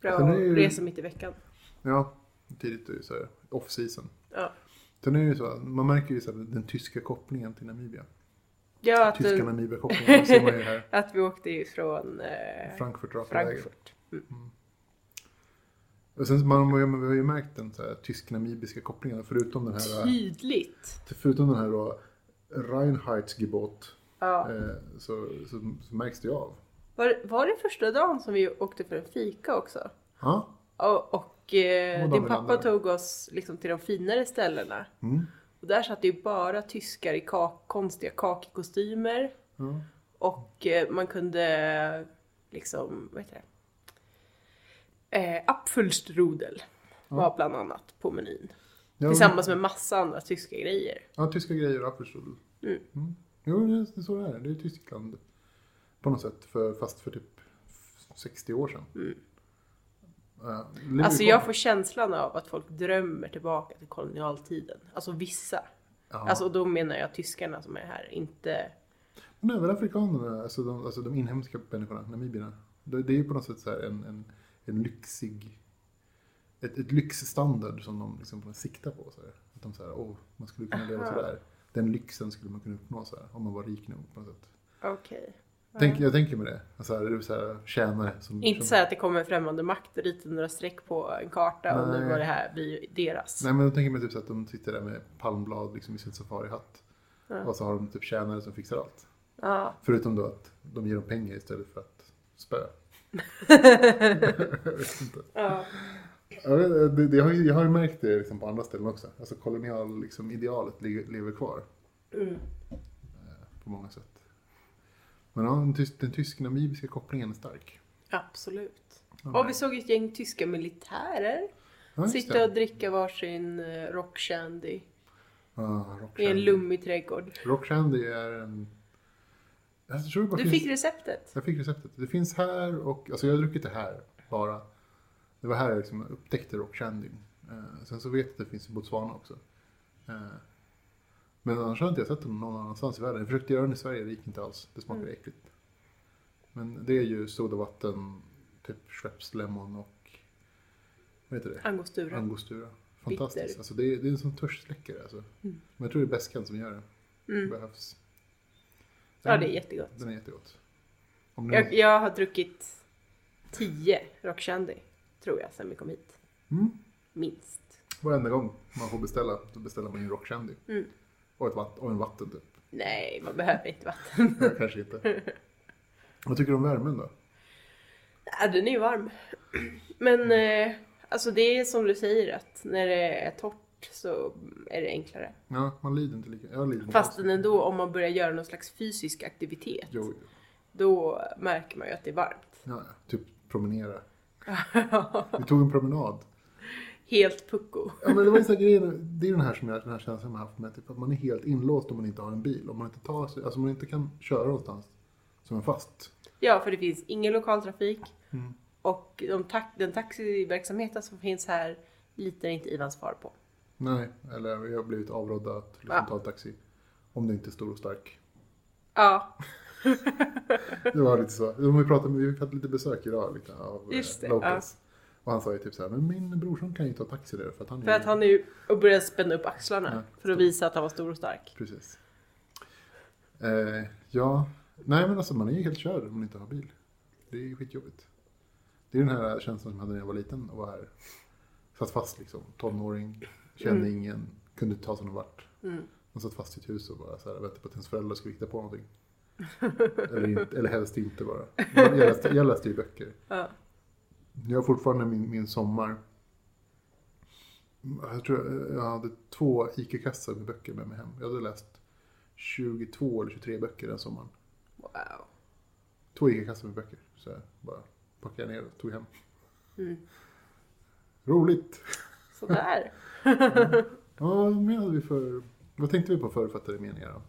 Bra Sen är det ju- resa mitt i veckan. Ja, tidigt är ju så här off season. Ja. Sen är det ju så, att man märker ju så här, den tyska kopplingen till Namibia. Ja, att, Tyska Namibia-kopplingen ser man ju här. [LAUGHS] att vi åkte ifrån eh, Frankfurt raka vägen. Frankfurt. Och sen så man, man, man har ju märkt den så här tysk-namibiska kopplingen förutom den här, eh, Tydligt. förutom den här då Reinheitsgebot Ja. eh, så, så, så märks det ju av. Var, var det första dagen som vi åkte för en fika också? Ja, Och, och eh, Och de din vill pappa andra. tog oss liksom till de finare ställena. mm. Och där satt det ju bara tyskar i kak, konstiga kakekostymer. Ja. Och eh, man kunde liksom, vad heter det? Eh, Apfelstrudel var bland annat på menyn. Ja, Tillsammans med massa andra tyska grejer. Ja, tyska grejer och apelstrudel. Mm. Mm. Jo, det är så det är. Det är Tyskland på något sätt, för, fast för typ 60 år sedan. Eh, Mm. Ja, det lever Alltså ju kvar. jag får känslan av att folk drömmer tillbaka till kolonialtiden. Alltså vissa. Ja. Alltså och då menar jag tyskarna som är här, inte... Men även afrikanerna, alltså de, alltså de inhemska människorna, namibierna. Det, det är ju på något sätt så här en, en, en lyxig... Ett, ett lyxstandard som de liksom på något sätt siktar på. Så här. Att de säger, åh, man skulle kunna leva Aha. sådär. Den lyxen skulle man kunna uppnå så här, om man var rik nog på något sätt. Okej. Tänk, jag tänker mig det. Alltså, här, det är så här, tjänare som... Inte som, så här att det kommer en främmande makt och ritar några streck på en karta och nu Nej. var det här blir deras. Nej men jag tänker mig typ så att de sitter där med palmblad liksom, i sin safarihatt. Ja. Och så har de typ tjänare som fixar allt. Ja. Förutom då att de ger dem pengar istället för att [LAUGHS] spö. jag vet inte. Ja. Jag, vet, eh, det, det har ju, jag har ju märkt det liksom, på andra ställen också. Alltså kolonial, liksom, idealet ligger- lever kvar Eh, Mm. på många sätt. Men ja, den, tysk, den tysk-namibiska kopplingen är stark. Absolut. Ja, Och vi såg ett gäng tyska militärer ja, just sitta det. och dricka varsin eh, rock candy Ja, rock i en Shandy. lummig trädgård. Rock Shandy är en... Jag tror det bara Du finns- fick receptet. Jag fick receptet. Det finns här och, alltså jag har druckit det här bara. Det var här jag liksom upptäckte rock shandy. Eh, sen så vet jag att det finns i Botswana också. Eh, men annars har jag inte sett dem någon annanstans i världen. Jag försökte göra den i Sverige, det gick inte alls. Det smakade Mm. äckligt. Men det är ju sodavatten, typ Schweppes Lemon och vad heter det? Angostura. Angostura. Fantastiskt. Bitter. Alltså det, är, det är en sån törstsläckare alltså. Men jag tror det är bäskan som gör det. Mm. Det behövs. Ja, det är jättegott. Den är jättegott. Om det är Jag, jag har druckit 10 rock candy, tror jag, sen vi kom hit. Mm. Minst. Varenda gång man får beställa, då beställer man ju en rock candy. Mm. Och, ett vatten, och en vatten typ. Nej, man behöver inte vatten. Ja, kanske inte. Vad tycker du om värmen då? Ja, Äh, den är ju varm. [CLEARS THROAT] Men eh, alltså det är som du säger att när det är torrt så är det enklare. Ja, man lider inte lika. Jag lider inte alls. Fastän ändå om man börjar göra någon slags fysisk aktivitet Jo, jo. då märker man ju att det är varmt. ja, ja. typ promenera. Vi tog en promenad. Helt pucko. Ja, men det, var ju så här grejen, det är den här, som jag, den här känslan man har haft med typ, att man är helt inlåst om man inte har en bil. Om man inte, tar, sig- alltså, om man inte kan köra någonstans som är fast. Ja, för det finns ingen lokaltrafik Mm. och de ta- den taxiverksamheten som finns här litar inte Ivan svar på. Nej, eller jag har blivit avrådda att liksom, Va? ta en taxi. Om du inte är stor och stark. Ja, Det var lite så. De har ju pratat med, vi hade lite besök idag lite, av eh, Just det, locals. Och han sa ju typ så här, men min brorson kan ju ta taxi där för att han för att han är ju och börjar spänna upp axlarna Ja, för att visa att han var stor och stark. Precis. Eh, ja, nej men alltså man är ju helt körd om man inte har bil. Det är ju skitjobbigt. Det är den här känslan som jag hade när jag var liten och var här. Satt fast liksom, tonåring, kände ingen, kunde inte ta sig någon vart. Mm. Man satt fast i ett hus och bara så här, väntade på att ens föräldrar skulle hitta på någonting. [LAUGHS] eller, inte, eller helst inte bara. Jag läste, jag läste ju böcker. Ja. Jag har fortfarande min, min sommar. Jag tror jag, jag hade två ICA-kassar med böcker med mig hem. Jag hade läst 22 eller 23 böcker den sommaren. Wow. Två ICA-kassar med böcker. Så jag bara packade ner och tog hem. Mm. Roligt! Sådär. Ja, vad menade vi för... Vad tänkte vi på författare i meningar då?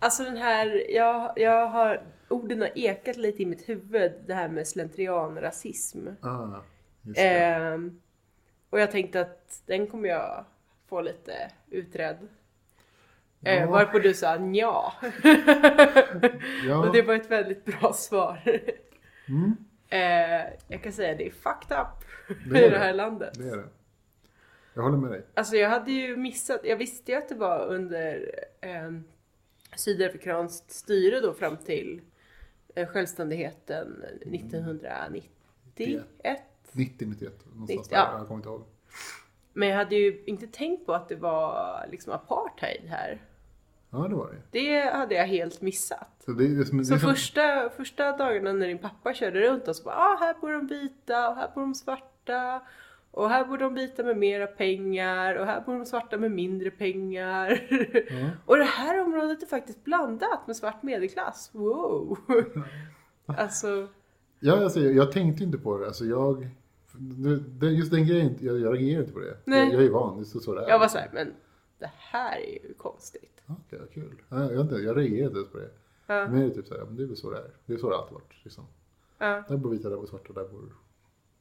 Alltså den här, jag, jag har, orden har ekat lite i mitt huvud, det här med slentrianrasism. Ah, just det. Ehm, och jag tänkte att den kommer jag få lite utredd. Eh, Ja. varpå du sa ja. ja, Och det var ett väldigt bra svar. mm, Eh, jag kan säga det är fucked up Det är i det här det. landet. det är det. Jag håller med dig. Alltså jag hade ju missat, jag visste ju att det var under eh, sydafrikanskt styre då fram till eh, självständigheten 1991. 90, 91, någonstans 90, där. ja. Jag kommer inte ihåg. Men jag hade ju inte tänkt på att det var liksom apartheid här. Ja, det var det ju. Det hade jag helt missat. Så det är som, det är som, Så första, första dagarna när din pappa körde runt oss, bara, ah, här bor de vita och här bor de svarta Och här bor de vita med mera pengar och här bor de svarta med mindre pengar. Mm. [LAUGHS] Och det här området är faktiskt blandat med svart medelklass. [LAUGHS] Wow! Alltså, Ja, alltså, jag, jag tänkte inte på det. Alltså, jag, det- det- just den grejen, jag, jag reagerar inte på det. Nej. Jag, jag är van, det är så, så det är. jag var såhär, men det här är ju konstigt. Ja, Okej, vad kul. Ja, jag, vet inte, jag reagerar inte ens på det. Ja. Men det är typ så här, ja, men det är väl så det är. Det är så det alltid varit. Liksom. Ja. Där bor vita, där bor svarta, där bor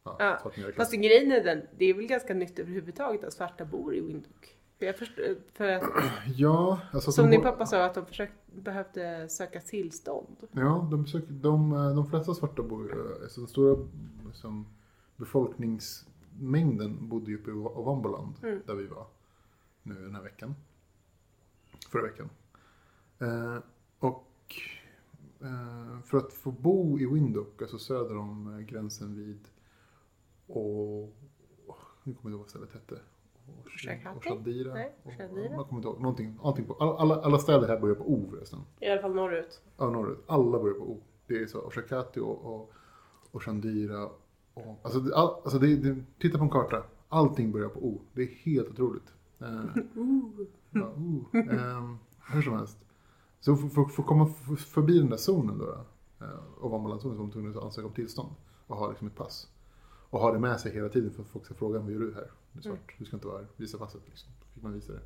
ja, Ja, svart medelklass. Fast grejen är den, det är väl ganska nytt överhuvudtaget att svarta bor i Windhoek. För jag förstår, för att, Ja, alltså att som de din bor- pappa sa, att de försökt, behövde söka tillstånd. Ja, de, besöker, de, eh, de flesta svarta bor ju, alltså den stora liksom, befolkningsmängden bodde ju uppe i Wa- Ovamboland Mm. där vi var nu den här veckan. Förra veckan. Eh, och eh, för att få bo i Windhoek, alltså söder om eh, gränsen vid och oh, nu kommer jag inte ihåg vad stället hette. Oshakati? Oshadira? Nej, Och- Oshadira. Man kommer inte ihåg. Någonting, någonting på, alla, alla, alla städer här börjar på O förresten. I alla fall norrut. Ja, norrut. Alla börjar på O. Det är så Oshakati och, och, och Shandira. Och, alltså, det- all, alltså det, det, titta på en karta. Allting börjar på O. Det är helt otroligt. Eh, ja, o. Ehm, hur som helst. Så för, för, för att komma f- förbi den där zonen då, eh, Ovambolandszonen, så var man tvungen att ansöka om tillstånd och ha liksom ett pass. Och ha det med sig hela tiden för att folk ska fråga vad gör du här? Du är svart, du ska inte vara här. Visa passet liksom. Så fick man visa det.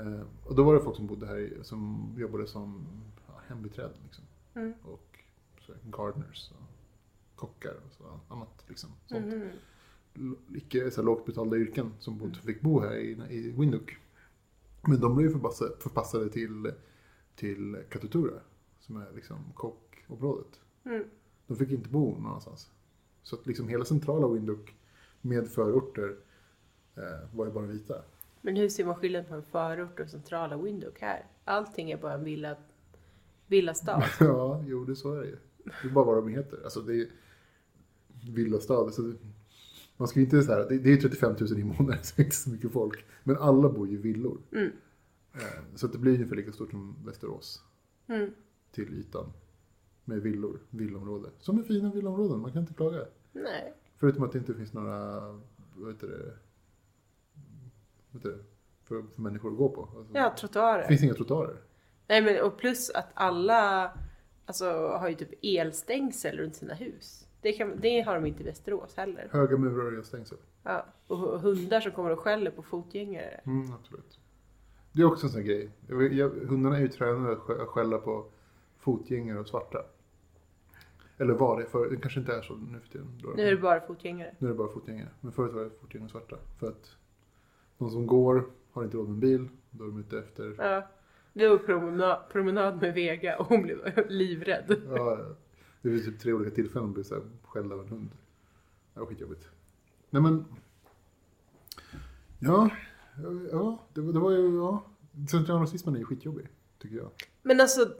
Eh, och då var det folk som bodde här i- som jobbade som ja, hembiträden liksom. Mm. Och så, här, gardeners och kockar och så, annat liksom. Sånt. Mhm. L- icke så här, lågt betalda yrken som bodde, fick bo här i, i Windhoek. Men de blev ju förpassade, förpassade till, till Katutura som är liksom kockområdet. Mm. De fick inte bo någon annanstans. Så att liksom hela centrala Windhoek med förorter eh, var ju bara vita. Men hur ser man skillnad på en förort och centrala Windhoek här? Allting är bara en villa, villastad. [LAUGHS] Ja, jo det så är det ju. Det är bara vad de heter. Alltså det är villastad. Alltså, det- man ska ju inte så här, det, det är ju 35 000 invånare [LAUGHS] så det är inte så mycket folk. Men alla bor ju i villor. Mm. Eh, Så att det blir ungefär lika stort som Västerås Mm. till ytan. Med villor, villområde. Som är fina villområden, man kan inte klaga. Nej. Förutom att det inte finns några, vad heter det, vad heter det för, för människor att gå på. Alltså, Ja, det trottoarer. finns inga trottoarer. Nej men och plus att alla alltså, har ju typ elstängsel runt sina hus. Det, kan, det har de inte i Västerås heller. Höga murar och elstängsel. Ja. Och och hundar som kommer och skäller på fotgängare. Mm, absolut. Det är också en sån här grej. Jag, jag, hundarna är ju tränade att sk- att skälla på fotgängare och svarta. Eller var det för Det kanske inte är så nu för tiden. Då. Nu är det bara fotgängare. nu är det bara fotgängare. Men förut var det fotgängare och svarta. För att de som går har inte råd med en bil. Då är de ute [LAUGHS] efter... Ja. Vi var på promena- promenad med Vega och hon blev [LAUGHS] livrädd. Ja, det finns typ tre olika tillfällen att bli så här skälld av en hund. Det var skitjobbigt. Nej men... Ja, ja det, var- det var ju... Ja. Centralrasismen är ju skitjobbig, tycker jag. Men alltså,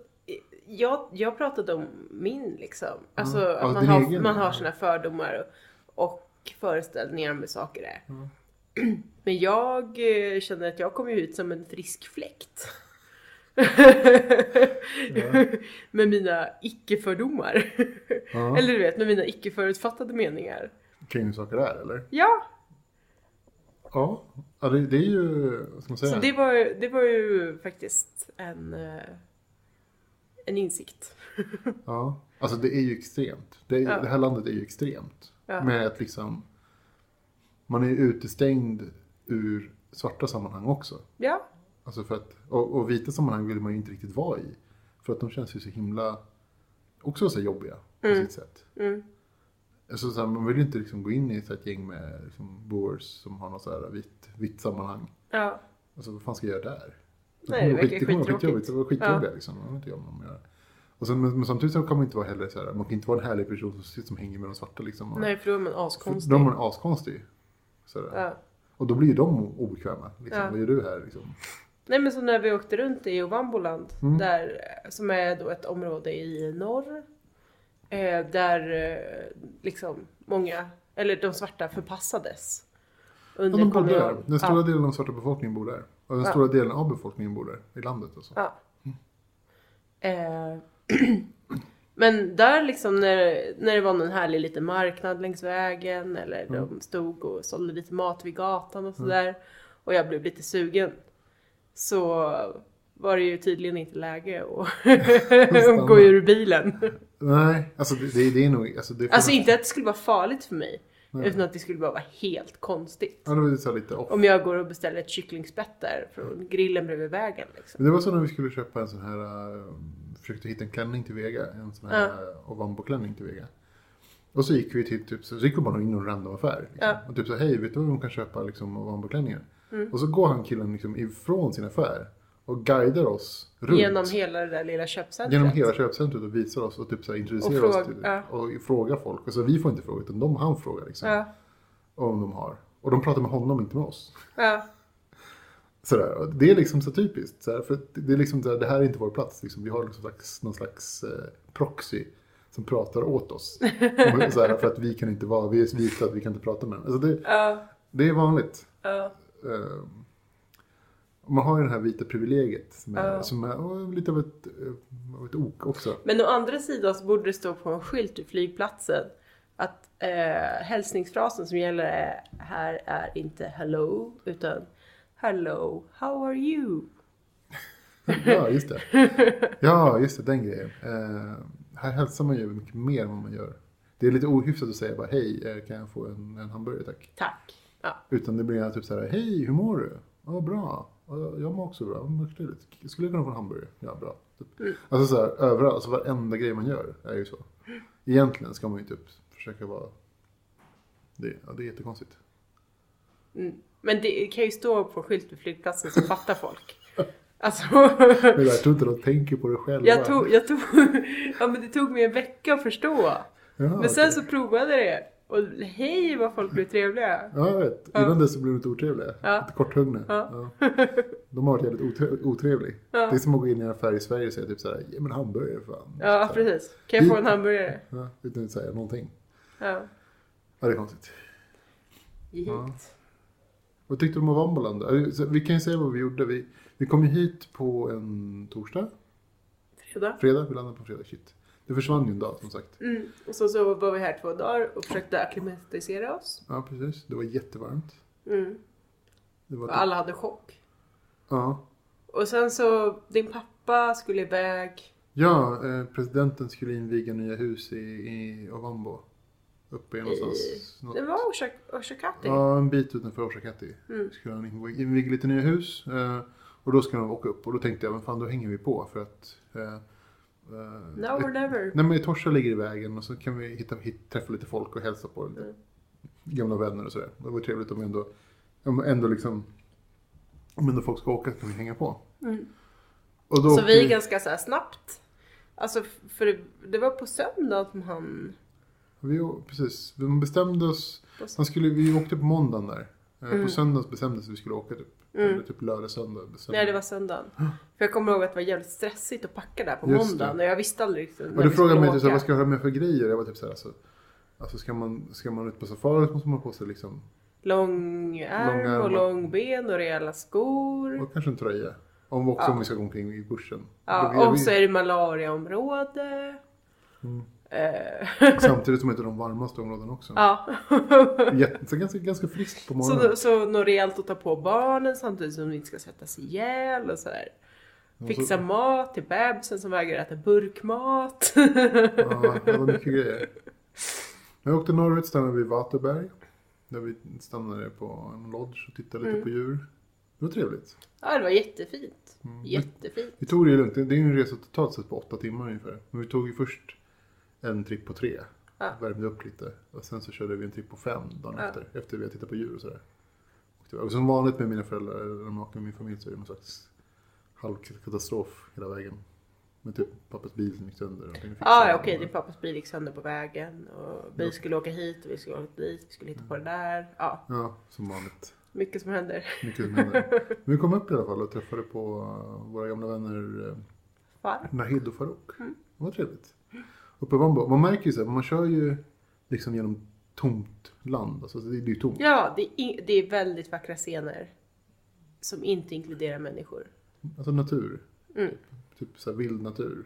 jag, jag pratade om min liksom. Alltså Ja, att man din har, egen. man har sina fördomar och, och föreställningar om hur saker är. Ja. [CLEARS THROAT] Men jag eh, känner att jag kom ju ut som en frisk fläkt. [LAUGHS] med mina icke-fördomar. Ja. Eller du vet, med mina icke-förutfattade meningar. kring hur saker är, eller? Ja, Ja, ja det, det är ju, vad ska man säga? så det var, ju- det var ju faktiskt en, eh, en insikt. Ja. Alltså det är ju extremt. Det, är, Ja. det här landet är ju extremt. Ja. Med att liksom, man är ju utestängd ur svarta sammanhang också. Ja, Alltså för att, och, och vita sammanhang vill man ju inte riktigt vara i. För att de känns ju så himla, också så här jobbiga på Mm. sitt sätt. mm. Alltså så här, man vill ju inte liksom gå in i så här ett gäng med liksom boers som har något så här vitt, vitt sammanhang. ja. Alltså vad fan ska jag göra där? Nej, det kommer verkar skit- kommer vara skittråkigt. Det var skitjobbiga liksom. Det var inte jag med om att göra. Och sen, men, men samtidigt så kan man inte vara heller så här, man kan inte vara en härlig person som, sitter- som hänger med de svarta liksom. Och, Nej, för då är man för askonstig. de är askonstig. Så där. Ja. Och då blir ju de obekväma. Liksom. Ja. Vad gör du här liksom? Nej men så när vi åkte runt i Ovamboland, Mm. där, som är då ett område i norr, eh, där eh, liksom många, eller de svarta förpassades. Ja, Under de bor kolonial- där. Den stora delen av svarta befolkningen bor där. Och den Ja. stora delen av befolkningen bor där, i landet alltså. ja. Eh, [CLEARS THROAT] Men där liksom när, när det var någon härlig liten marknad längs vägen eller Mm. de stod och sålde lite mat vid gatan och sådär och jag blev lite sugen så var det ju tydligen inte läge [LAUGHS] att gå ur bilen. [LAUGHS] Nej, alltså det, det, det är nog... Alltså, det Alltså inte att det skulle vara farligt för mig Nej. utan att det skulle bara vara helt konstigt. Ja, det var så här lite off. Om jag går och beställer ett kycklingspett där från grillen bredvid vägen liksom. Men det var så när vi skulle köpa en sån här, eh, försökte hitta en klänning till Vega, en sån här uh. Ovambo-klänning till Vega. Och så gick vi till, typ, så gick vi bara in i en random affär. Liksom. Ja. Mm. Och typ så här, hej, vet du var de kan köpa liksom, Ovambo-klänningar? Och så går han killen liksom ifrån sin affär och guidar oss runt. Genom hela det där lilla köpcentret. Genom hela köpcentret och visar oss och typ så här introducerar Och oss fråga- till, ja. och frågar folk. Och så vi får inte fråga utan de han frågar liksom, Ja, om de har. Och de pratar med honom, inte med oss. ja. Sådär. och Det är liksom så typiskt. Sådär, för att det, är liksom sådär, det här är inte vår plats. Liksom. Vi har liksom slags, någon slags eh, proxy som pratar åt [LAUGHS] oss. Och sådär, för att vi kan inte vara, vi är så vita att vi kan inte prata med den. Alltså det, ja, det är vanligt. ja. Eh, man har ju det här vita privilegiet som är, Ja. som är och lite av ett, eh, av ett ok också. Men å andra sidan så borde det stå på en skylt vid flygplatsen att eh, hälsningsfrasen som gäller är, här är inte hello utan hello, how are you? Ja, just det. Ja, just det, den grejen. Eh, här hälsar man ju mycket mer än vad man gör. Det är lite ohyfsat att säga bara hej, eh, kan jag få en, en hamburgare tack? Tack. Ja. Utan det blir typ så här, hej hur mår du? Ja bra, Ja, jag mår också bra, vad trevligt. Skulle jag kunna få en hamburgare? Ja bra. Typ. Alltså så här, överallt, alltså varenda grej man gör är ju så. Egentligen ska man ju typ försöka vara... Det, ja, det är jättekonstigt. Mm. Men det kan ju stå på en skylt vid flygplatsen så fattar folk. Alltså, Men jag tror inte de tänker på det själva. jag tog, jag tog, ja men det tog mig en vecka att förstå. ja, Men sen okej. så provade jag det och hej vad folk blev trevliga. Ja, jag vet. Innan dess så blev de lite otrevliga. Ja. Lite korthuggna. Ja. Ja. De har varit jävligt otre- otrevliga. Ja. Det är som att gå in i en affär i Sverige och säga typ så här, ge mig en hamburgare fan. så Ja här, precis. Kan jag få en hamburgare? ja, utan att säga någonting. Ja. Ja, det är konstigt. Givet. Vad tyckte du om Ovamboland då? Alltså, Vi kan ju säga vad vi gjorde. Vi, vi kom ju hit på en torsdag, Fredag. fredag. Vi landade på fredag. Shit. Det försvann ju en dag som sagt. Mm. Och så, så var vi här två dagar och försökte acklimatisera oss. Ja, precis. Det var jättevarmt. Mm. Det var Och alla hade chock. ja. Och sen så, din pappa skulle iväg. ja, eh, presidenten skulle inviga nya hus i, i Ovambo. Uppe i någonstans. något- Det var Oshak- Oshakati. Ja, en bit utanför Orsakati. Mm. Skulle han inv- inviga lite nya hus. Eh, och då skulle de åka upp. Och då tänkte jag, men fan då hänger vi på. För att... Eh, eh, Now or never. Nej men Torsa ligger i vägen och så kan vi hitta, hit, träffa lite folk och hälsa på lite Mm. gamla vänner och sådär. Det var trevligt om ändå, om ändå liksom, om ändå folk ska åka så kan vi hänga på. Mm. Och då Så åkte vi ganska så här snabbt. Alltså f- för det, det var på söndag som han... vi, å- precis, vi bestämde oss, På sö- han skulle, vi åkte på måndagen där. Eh, Mm. På söndags bestämdes att vi skulle åka typ, Mm. eller typ lördag, söndag. bestämde Nej det var söndagen. För jag kommer ihåg att det var jävligt stressigt att packa där på Just måndagen det. och jag visste aldrig riktigt Och du när vi skulle frågade mig åka. typ, såhär, vad ska jag ha med för grejer? Jag var typ såhär, alltså, alltså ska, man, ska man ut på safari så måste man ha på sig liksom, Lång Lång ärm ärm och och- lång ben och rejäla skor. och kanske en tröja. Om, också Mm. Ja. om vi ska gå omkring i bussen. Då Ja, är och vi- så är det malariaområde. Mm. Eh, [LAUGHS] Samtidigt som det är de varmaste områdena också. ja. Jätte, så ganska, ganska friskt på morgonen. så, så något rejält att ta på barnen samtidigt som de inte ska svettas ihjäl och sådär. Och så- Fixa mat till bebisen som vägrar äta burkmat. [LAUGHS] Ja, det var mycket grejer. När jag åkte norrut stannade vi i Vaterberg. Där vi stannade på en lodge och tittade Mm. lite på djur. Det var trevligt. ja, det var jättefint. Mm. Jättefint. Vi tog det ju lugnt. Det det är ju en resa totalt sett på åtta timmar ungefär. Men vi tog ju först en tripp på tre. Ja. Värmde upp lite. Och sen så körde vi en tripp på fem dagen Ja. efter. Efter vi hade tittat på djur och sådär. Och det var- Och som vanligt med mina föräldrar, eller maken och min familj, så är det någon slags halvkatastrof hela vägen. Med typ pappas bil som gick sönder. och Ah, Ja, ja, okej, din pappas bil gick sönder på vägen och vi Ja. Mm. skulle åka hit och vi skulle åka dit, vi skulle hitta på det där. Ja, Ja, som vanligt. mycket som händer. Mycket som händer. Men vi kom upp i alla fall och träffade på eh, våra gamla vänner eh, Far. Nahid och Farouk. Mm. Det var trevligt. Uppe i Vambo. Man märker ju så här, man kör ju liksom genom tomt land. Alltså det det är ju tomt. Ja, det är, in- det är väldigt vackra scener som inte inkluderar människor. Alltså natur. Mm. Typ så här vild natur.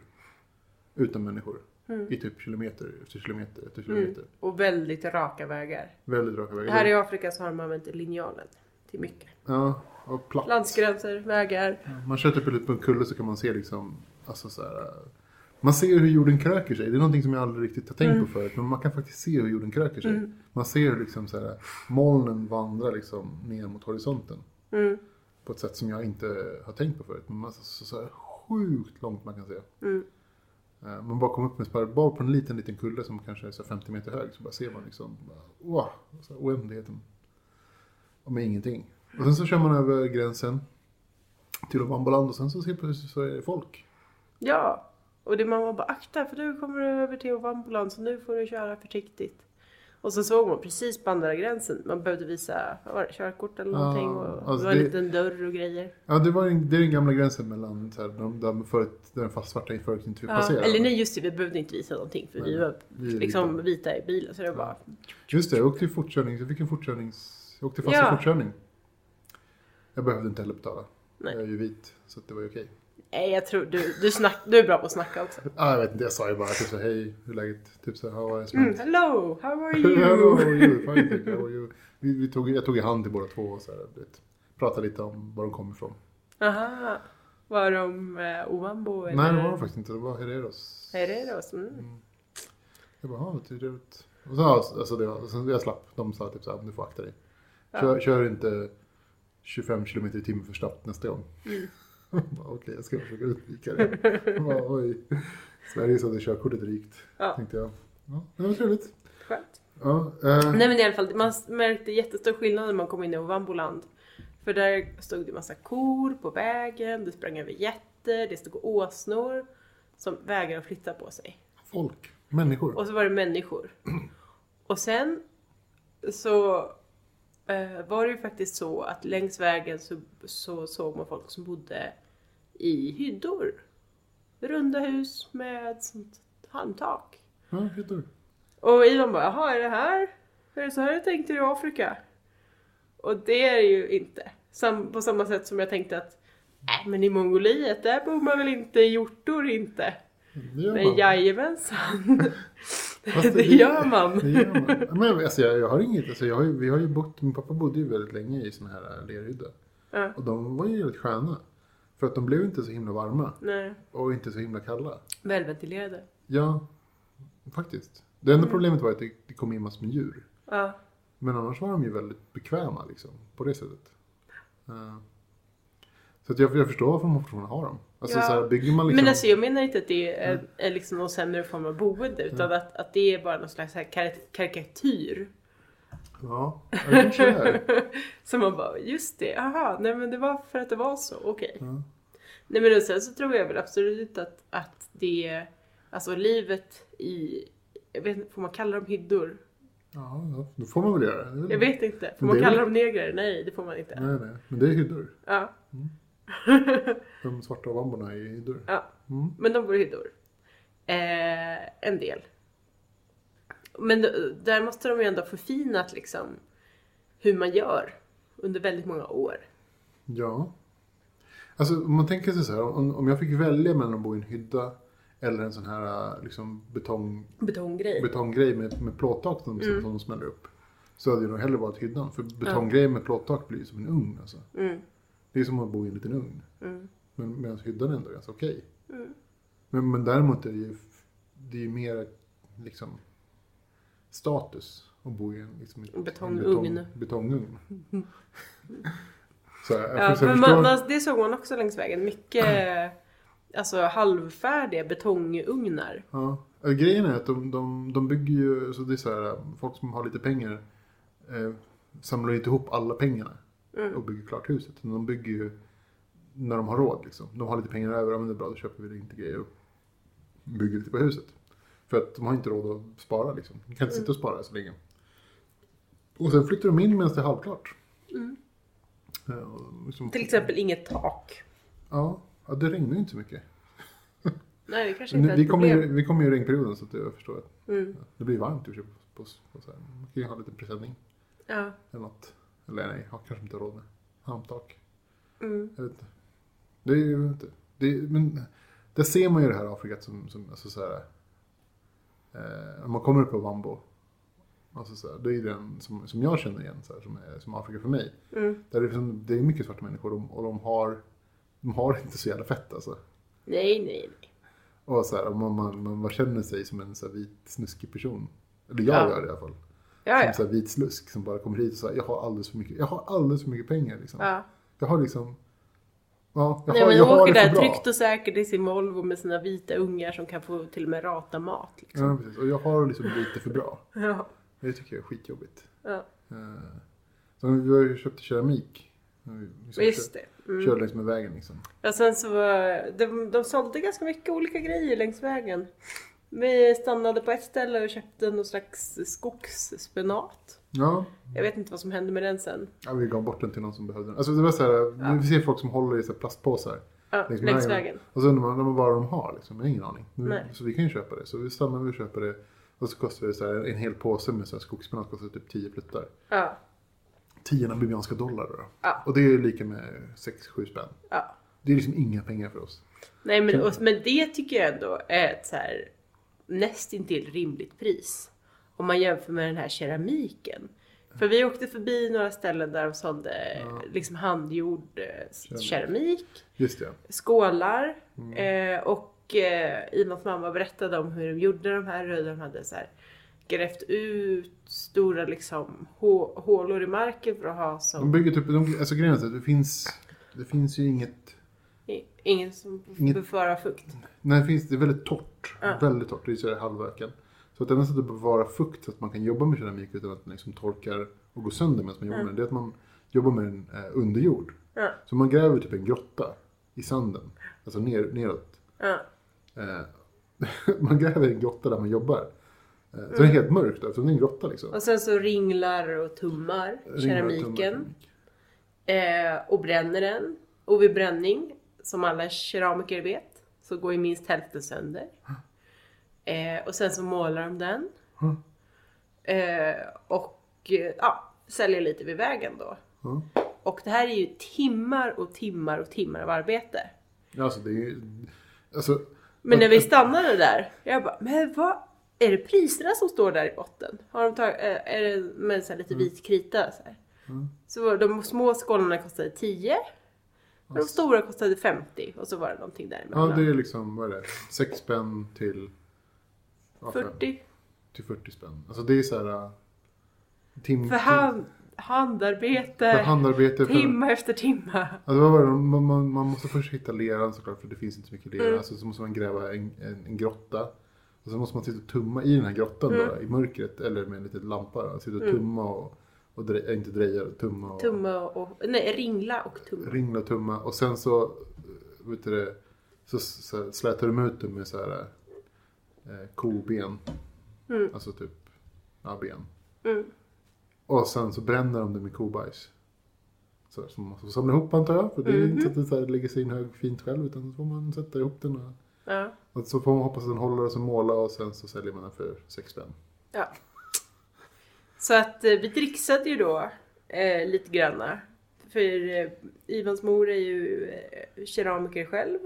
Utan människor. Mm. i typ kilometer efter kilometer efter kilometer. Och väldigt raka vägar. Väldigt raka vägar. Mm. Här i Afrika så har de använt linjalen till mycket. Ja, och platt. Landsgränser, vägar. Man kör typ ut på en kulle så kan man se liksom, alltså så här, eh, man ser hur jorden kröker sig. Det är någonting som jag aldrig riktigt har Mm. tänkt på förut. Men man kan faktiskt se hur jorden kröker sig. Man ser hur liksom så här, molnen vandrar liksom ner mot horisonten. Mm. På ett sätt som jag inte har tänkt på förut. Men man, alltså, så, så, så här, sjukt långt man kan se. Mm. Eh, Man bara kommer upp med spärr, bara på en liten, liten kulle som kanske är så här 50 meter hög. Så bara ser man liksom, bara, wow, så här, oändligheten. Och med ingenting. Och sen så kör man över gränsen till Ovambaland och sen så ser precis så är det folk. Ja, och det man var bara akta för nu kommer du över till Ovambulan så nu får du köra försiktigt. Och så såg man precis på andra gränsen, man behövde visa vad var det, körkort eller Ja, någonting och alltså det var en det- liten dörr och grejer. Ja, det, var en, det är den gamla gränsen mellan så här, de, där, förut, där den fast svarta förut inte fick Ja, passera. eller nej just det, vi behövde inte visa någonting för vi Nej, var vi är liksom vita. vita i bilen så det var bara Just det, jag åkte i fortkörning, jag fick en fortkörnings... Jag åkte fast Ja. i fortkörning. Jag behövde inte heller betala. Nej. Jag är ju vit, så att det var ju okej. nej jag tror du, du, snack, du är bra på att snacka också. Ah, jag vet inte, jag sa ju bara typ så här, hej, hur är läget? Typ så här, how are you? Mm, hello, how [LAUGHS] are you? Hello, how are you? Fine, thank you. How are you? Vi, vi tog, jag tog i hand till båda två och så här, du vet, pratade lite om var de kommer ifrån. Aha, var de eh, Ovambo eller? Nej, det var de faktiskt inte. Det var Hereros. Herreros? Mm. Mm. Jag bara, ja, vad trevligt. Och så, alltså, det var, sen jag slapp. De sa typ så här, du får akta dig. Kör, kör inte 25 km i timmen för snabbt nästa gång. Mm. [LAUGHS] Jag bara, Okej, jag ska försöka undvika det. Jag bara, Oj. Sverige så hade körkortet rikt, Ja. tänkte jag. Ja, det var trevligt. Skönt. Ja, eh, Nej men i alla fall, man märkte jättestor skillnad när man kom in i Ovamboland. För där stod det massa kor på vägen, det sprang över getter, det stod åsnor som vägrade att flytta på sig. folk, människor. Och så var det människor. Och sen så eh, var det ju faktiskt så att längs vägen så, så såg man folk som bodde i hyddor. Runda hus med sånt halmtak. Ja, hyddor. Och Ivan bara, jaha är det här? Är det så här du tänkte i Afrika? Och det är det ju inte. Sam- på samma sätt som jag tänkte att, nej men i Mongoliet, där bor man väl inte i hjortor inte? Det gör Men man. jajamensan, Fast [LAUGHS] det gör man. Det gör man. Men jag- alltså, jag, jag har inget, alltså, jag har, ju- vi har ju bott, min pappa bodde ju väldigt länge i såna här eh, lerhydda. Ja. Och de var ju jävligt sköna. För att de blev inte så himla varma Nej, och inte så himla kalla. välventilerade. Ja, faktiskt. Det Mm. enda problemet var att det, det kom in massor med djur. Ja. Men annars var de ju väldigt bekväma liksom, på det sättet. Eh, Så att jag, jag förstår varför man fortfarande har dem. Alltså Ja. så här, bygger man liksom... Men alltså jag menar inte att det är, är liksom någon sämre form av boende utan Mm. att, att det är bara någon slags så här karik- karikatyr. Ja, ja, det kanske det är. [LAUGHS] Så man bara, just det, aha, nej men det var för att det var så, okej. Ja. Nej men och sen så tror jag väl absolut att, att det, alltså livet i, jag vet inte, får man kalla dem hyddor? Ja, ja, då får man väl göra det. det. är väl- Jag vet inte, får Men man Mm. det är kalla väl- Mm. dem negrer? Nej det får man inte. Nej, nej. Men det är hyddor. Ja. De svarta vamborna är ju hyddor. ja. Mm. Men de bor i hyddor. Eh, en del. Men d- där måste de ju ändå ha förfinat liksom hur man gör under väldigt många år. Ja. Alltså om man tänker sig så här, om, om jag fick välja mellan att bo i en hydda eller en sån här äh, liksom, betong, Betonggrej. betonggrej med, med plåttak som, Mm. som de smäller upp. Så hade jag nog hellre valt hyddan. För betonggrejer med plåttak blir ju som en ugn alltså. Mm. Det är som att bo i en liten ugn. Mm. Men medan hyddan är ändå ganska okej. Men, men däremot är det ju, det är ju mer liksom status att bo i en, liksom, i en Betongugn. Mm. Betong, betongugn. så jag, Ja, jag men förstår- man, man, det såg man också längs vägen. Mycket [CLEARS THROAT] alltså, halvfärdiga betongugnar. Ja. Alltså, Grejen är att de, de, de bygger ju, så det är så här, folk som har lite pengar eh, samlar ju inte ihop alla pengarna Mm. och bygger klart huset. Men De bygger ju när de har råd liksom. De har lite pengar över, ja, men det är bra, då köper vi lite grejer och bygger lite på huset. För att de har inte råd att spara liksom. De kan inte sitta och Mm. spara så länge. Och sen flyttar de in medan det är halvklart. Mm. Eh, och liksom- Till exempel inget tak. Ja, ja, det regnar ju inte så mycket. Nej, det kanske inte Nu, är vi, ett kommer problem. ju, vi kommer ju i regnperioden så att jag förstår att Mm. ja, det blir varmt i och för sig. På, på, på, så här. Man kan ju ha lite presenning Ja. eller något. Eller nej, har kanske inte råd med. Handtak. Mm. Jag vet inte. Det är ju jag vet inte. Det är, men där ser man ju det här Afrika som, som alltså så här, Eh, om man kommer upp på Wambo, alltså så här, det är den som, som jag känner igen så här, som, är, som Afrika för mig. Mm. Där det, är liksom, det är mycket svarta människor och, och de, har, de har [LAUGHS] det inte så jävla fett alltså. Nej, nej, nej. Och så här, och man, man, man, man känner sig som en så här, vit snuskig person. Eller jag Ja. gör det i alla fall. Ah, Ja, ja. Som så här, vit slusk som bara kommer hit och säger jag har alldeles för mycket, jag har alldeles för mycket pengar liksom. ja. Jag har liksom... Ja, jag Nej har, men jag har åker det där för bra. tryggt och säkert i sin Volvo med sina vita ungar som kan få till och med rata mat. Liksom. Ja, precis. Och jag har liksom lite för bra. Ja. Det tycker jag är skitjobbigt. Ja. Eh, Så vi har ju köpt keramik. Vi liksom Just det. kör- Mm. Kör längs med vägen liksom. Och sen så var, de, de sålde ganska mycket olika grejer längs vägen. Vi stannade på ett ställe och köpte någon slags skogsspenat. Ja, Jag vet inte vad som hände med den sen. ja vi gav bort den till någon som behövde den. Alltså det var så här, Ja. vi ser folk som håller i så här plastpåsar. Ja, Längs längs, med vägen. vägen. Och så undrar man, man vad de har liksom. Jag har ingen aning. Nu- Nej. Så vi kan ju köpa det. Så vi stannar och vi köper det. Och så kostar det så här, en hel påse med så här skogspenat kostar typ 10 pluttar. Ja, 10 namibianska dollar då. Ja. Och det är lika med 6-7 spänn. ja. Det är liksom inga pengar för oss. Nej men, och, men det tycker jag ändå är ett så här nästintill rimligt pris. Om man jämför med den här keramiken. För vi åkte förbi några ställen där de sålde Ja. liksom handgjord eh, Keramik. Mm. keramik. Just det. skålar eh, och eh, Imas mamma berättade om hur de gjorde de här röda. De hade så här, grävt ut stora liksom, hå- hålor i marken för att ha De som... bygger typ, de, alltså grejen är så att det finns, det finns ju inget, i- Ingen som Inget- befarar fukt. nej det finns, det är väldigt torrt, Ja. väldigt torrt, det är så här halvöken. Så att det enda sättet att bevara fukt så att man kan jobba med keramik utan att den liksom torkar och går sönder medan man jobbar med den, det är att man jobbar med den eh, under jord. Ja. Så man gräver typ en grotta i sanden, alltså ner, neråt. Ja. Eh, [LAUGHS] man gräver en grotta där man jobbar. Eh, så Mm. det är helt mörkt eftersom det är en grotta liksom. Och sen så ringlar och tummar keramiken eh, och bränner den. Och vid bränning, som alla keramiker vet, så går ju minst hälften sönder. Eh, och sen så målar de den. Mm. Eh, och eh, ja, säljer lite vid vägen då. Ja. Och det här är ju timmar och timmar och timmar av arbete. Alltså det är ju, alltså Men när vi stannade där, jag bara, men vad? Är det priserna som står där i botten? Har de tagit, eh, är det med så här lite vit krita? Så, här? Mm. så de små skålarna kostade 10. Och de stora kostade 50 och så var det någonting Ja, däremellan. det är liksom, vad är det, 6 spänn till, ja, fem- 40. till 40 spänn. Alltså det är så här... äh, Tim, För hand, handarbete, tim, för handarbete. För, timma efter timma. ja, det var bara, man, man, man måste först hitta leran såklart, för det finns inte så mycket lera. Mm. Alltså, så måste man gräva en, en, en grotta. Och så måste man sitta och tumma i den här grottan Mm. bara, i mörkret, eller med en liten lampa. Då. Sitta och Mm. tumma och, och dre, äh, inte dreja, tumma och Tumma och, nej ringla och tumma. ringla och tumma. Och sen så, äh, vet du det, så, så här, slätar de ut dem med så här äh, koben. Mm, Alltså typ, ja, ben. mm, Och sen så bränner de det med kobajs. Så, som man får samla ihop antar jag. För det är ju Mm-hmm. inte så att det så här lägger sig i en hög fint själv. Utan så får man sätta ihop den. Och, ja. och så får man hoppas att den håller och så måla och sen så säljer man den för sex spänn. Ja. Så att eh, vi dricksade ju då eh, lite granna. För eh, Ivans mor är ju eh, keramiker själv.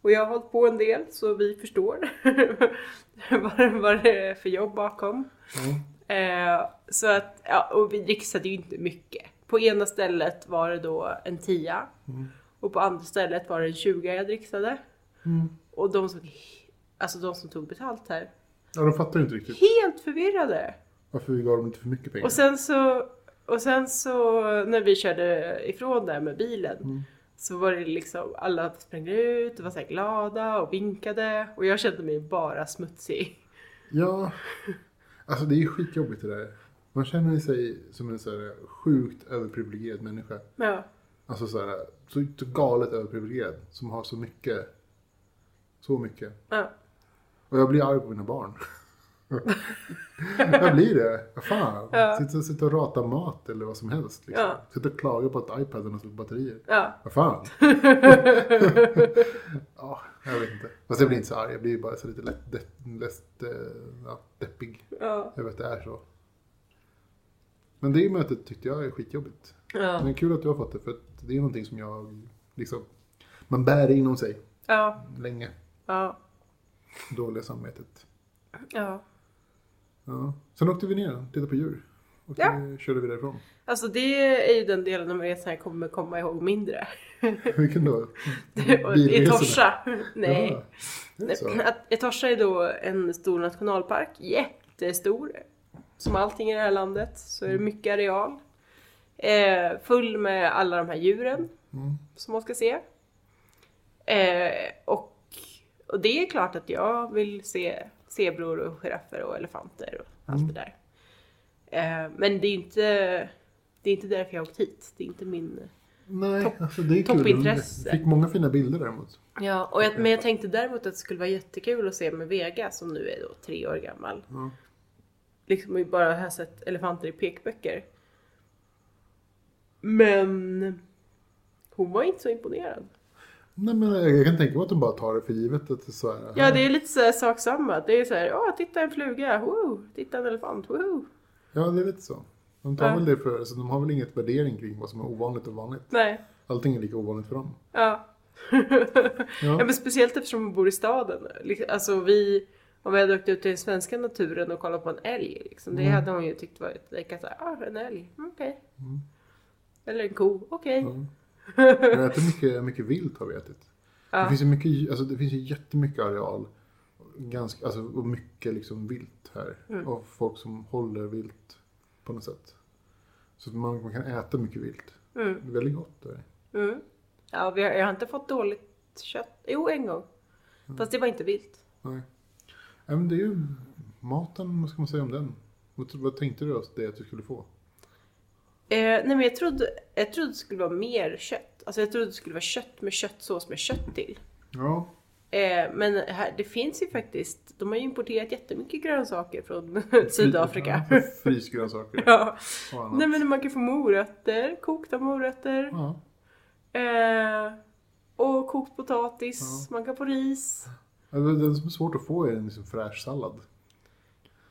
Och jag har hållit på en del så vi förstår [LAUGHS] vad, det- vad det är för jobb bakom. Ja. Eh, så att, ja, och vi dricksade ju inte mycket. På ena stället var det då en tia. Mm. Och på andra stället var det en tjuga jag dricksade. Mm. Och de som, alltså de som tog betalt här, ja, de fattar ju inte riktigt helt förvirrade. varför vi gav dem lite för mycket pengar. Och sen så, och sen så när vi körde ifrån där med bilen Mm. så var det liksom alla sprang ut och var så här glada och vinkade och jag kände mig bara smutsig. Ja, alltså det är ju skitjobbigt det där. Man känner sig som en så här sjukt överprivilegierad människa. Ja, Alltså så här, så, så galet överprivilegierad. Som har så mycket. Så mycket. ja. Och jag blir arg på mina barn. jag blir det. Vad Fan. Ja. Sitta, sitta och rata mat eller vad som helst. Liksom. Ja. Sitta och klaga på att iPaden har slut på batterier. ja. Vad [LAUGHS] fan. ja, jag vet inte. Fast jag blir inte så arg. Jag blir bara så lite lätt, de, lätt eh, ja, deppig. ja. Jag vet att det är så. Men det mötet tyckte jag är skitjobbigt. ja. Men kul att du har fått det. För att det är någonting som jag liksom. Man bär det inom sig ja. länge. ja. Dåliga samvetet. Ja. Ja. Sen åkte vi ner, tittade på djur. Och Ja. sen körde vi därifrån. [LAUGHS] Alltså det är ju den delen av resan jag kommer komma ihåg mindre. Vilken då? Och [LAUGHS] I Bilresorna. Torsa. Nej. Ja, det är så. Att Etosha är då en stor nationalpark, jättestor. Som allting i det här landet så är Mm. det mycket areal. Eh, full med alla de här djuren Mm. som man ska se. Eh, och, och det är klart att jag vill se zebror och giraffer och elefanter och allt Mm. det där. Eh, men det är inte, det är inte därför jag har åkt hit. Det är inte min... Nej, Topp- alltså det är kul. toppintresse. Fick många fina bilder däremot. Ja, och jag, men jag tänkte däremot att det skulle vara jättekul att se med Vega som nu är då tre år gammal. Ja. liksom vi bara har sett elefanter i pekböcker. Men hon var inte så imponerad. Nej, men jag kan tänka mig att de bara tar det för givet att det är så här. Ja, det är lite så här sak samma. Det är så här, åh, titta en fluga, wow, titta en elefant, wow. Ja, det är lite så. De tar Ja. väl det för, så de har väl inget värdering kring vad som är ovanligt och vanligt. Nej, Allting är lika ovanligt för dem. ja. [LAUGHS] ja, men speciellt eftersom hon bor i staden. Liksom, Alltså vi, om vi hade åkt ut i den svenska naturen och kollat på en älg, liksom, det Mm. hade hon ju tyckt varit lika såhär, ah, en älg, mm, okej. Mm. Eller en ko, okej. Ja. Vi har ätit mycket, mycket vilt har vi ätit. Det, Ja. finns ju mycket, alltså det finns ju jättemycket areal. Ganska, alltså, och mycket liksom vilt här. Mm. Och folk som håller vilt på något sätt. Så att man, man kan äta mycket vilt. Mm. Det är väldigt gott. Där. Mm. Ja, vi har, jag har inte fått dåligt kött. Jo, en gång. Mm. Fast det var inte vilt. Nej. Nej, men det är ju maten, vad ska man säga om den? Vad, tro- vad tänkte du att det att du skulle få? Eh, nej, men jag trodde, jag trodde det skulle vara mer kött. Alltså jag trodde det skulle vara kött med köttsås med kött till. Ja, Eh, men här, det finns ju faktiskt, de har ju importerat jättemycket grönsaker från [LAUGHS] Ja, Sydafrika. [LAUGHS] Frysgrönsaker ja. och annat. Nej men man kan få morötter, kokta morötter. Ja, Eh, och kokt potatis, man kan få ris. Alltså, den som är svårt att få är en liksom fräsch sallad.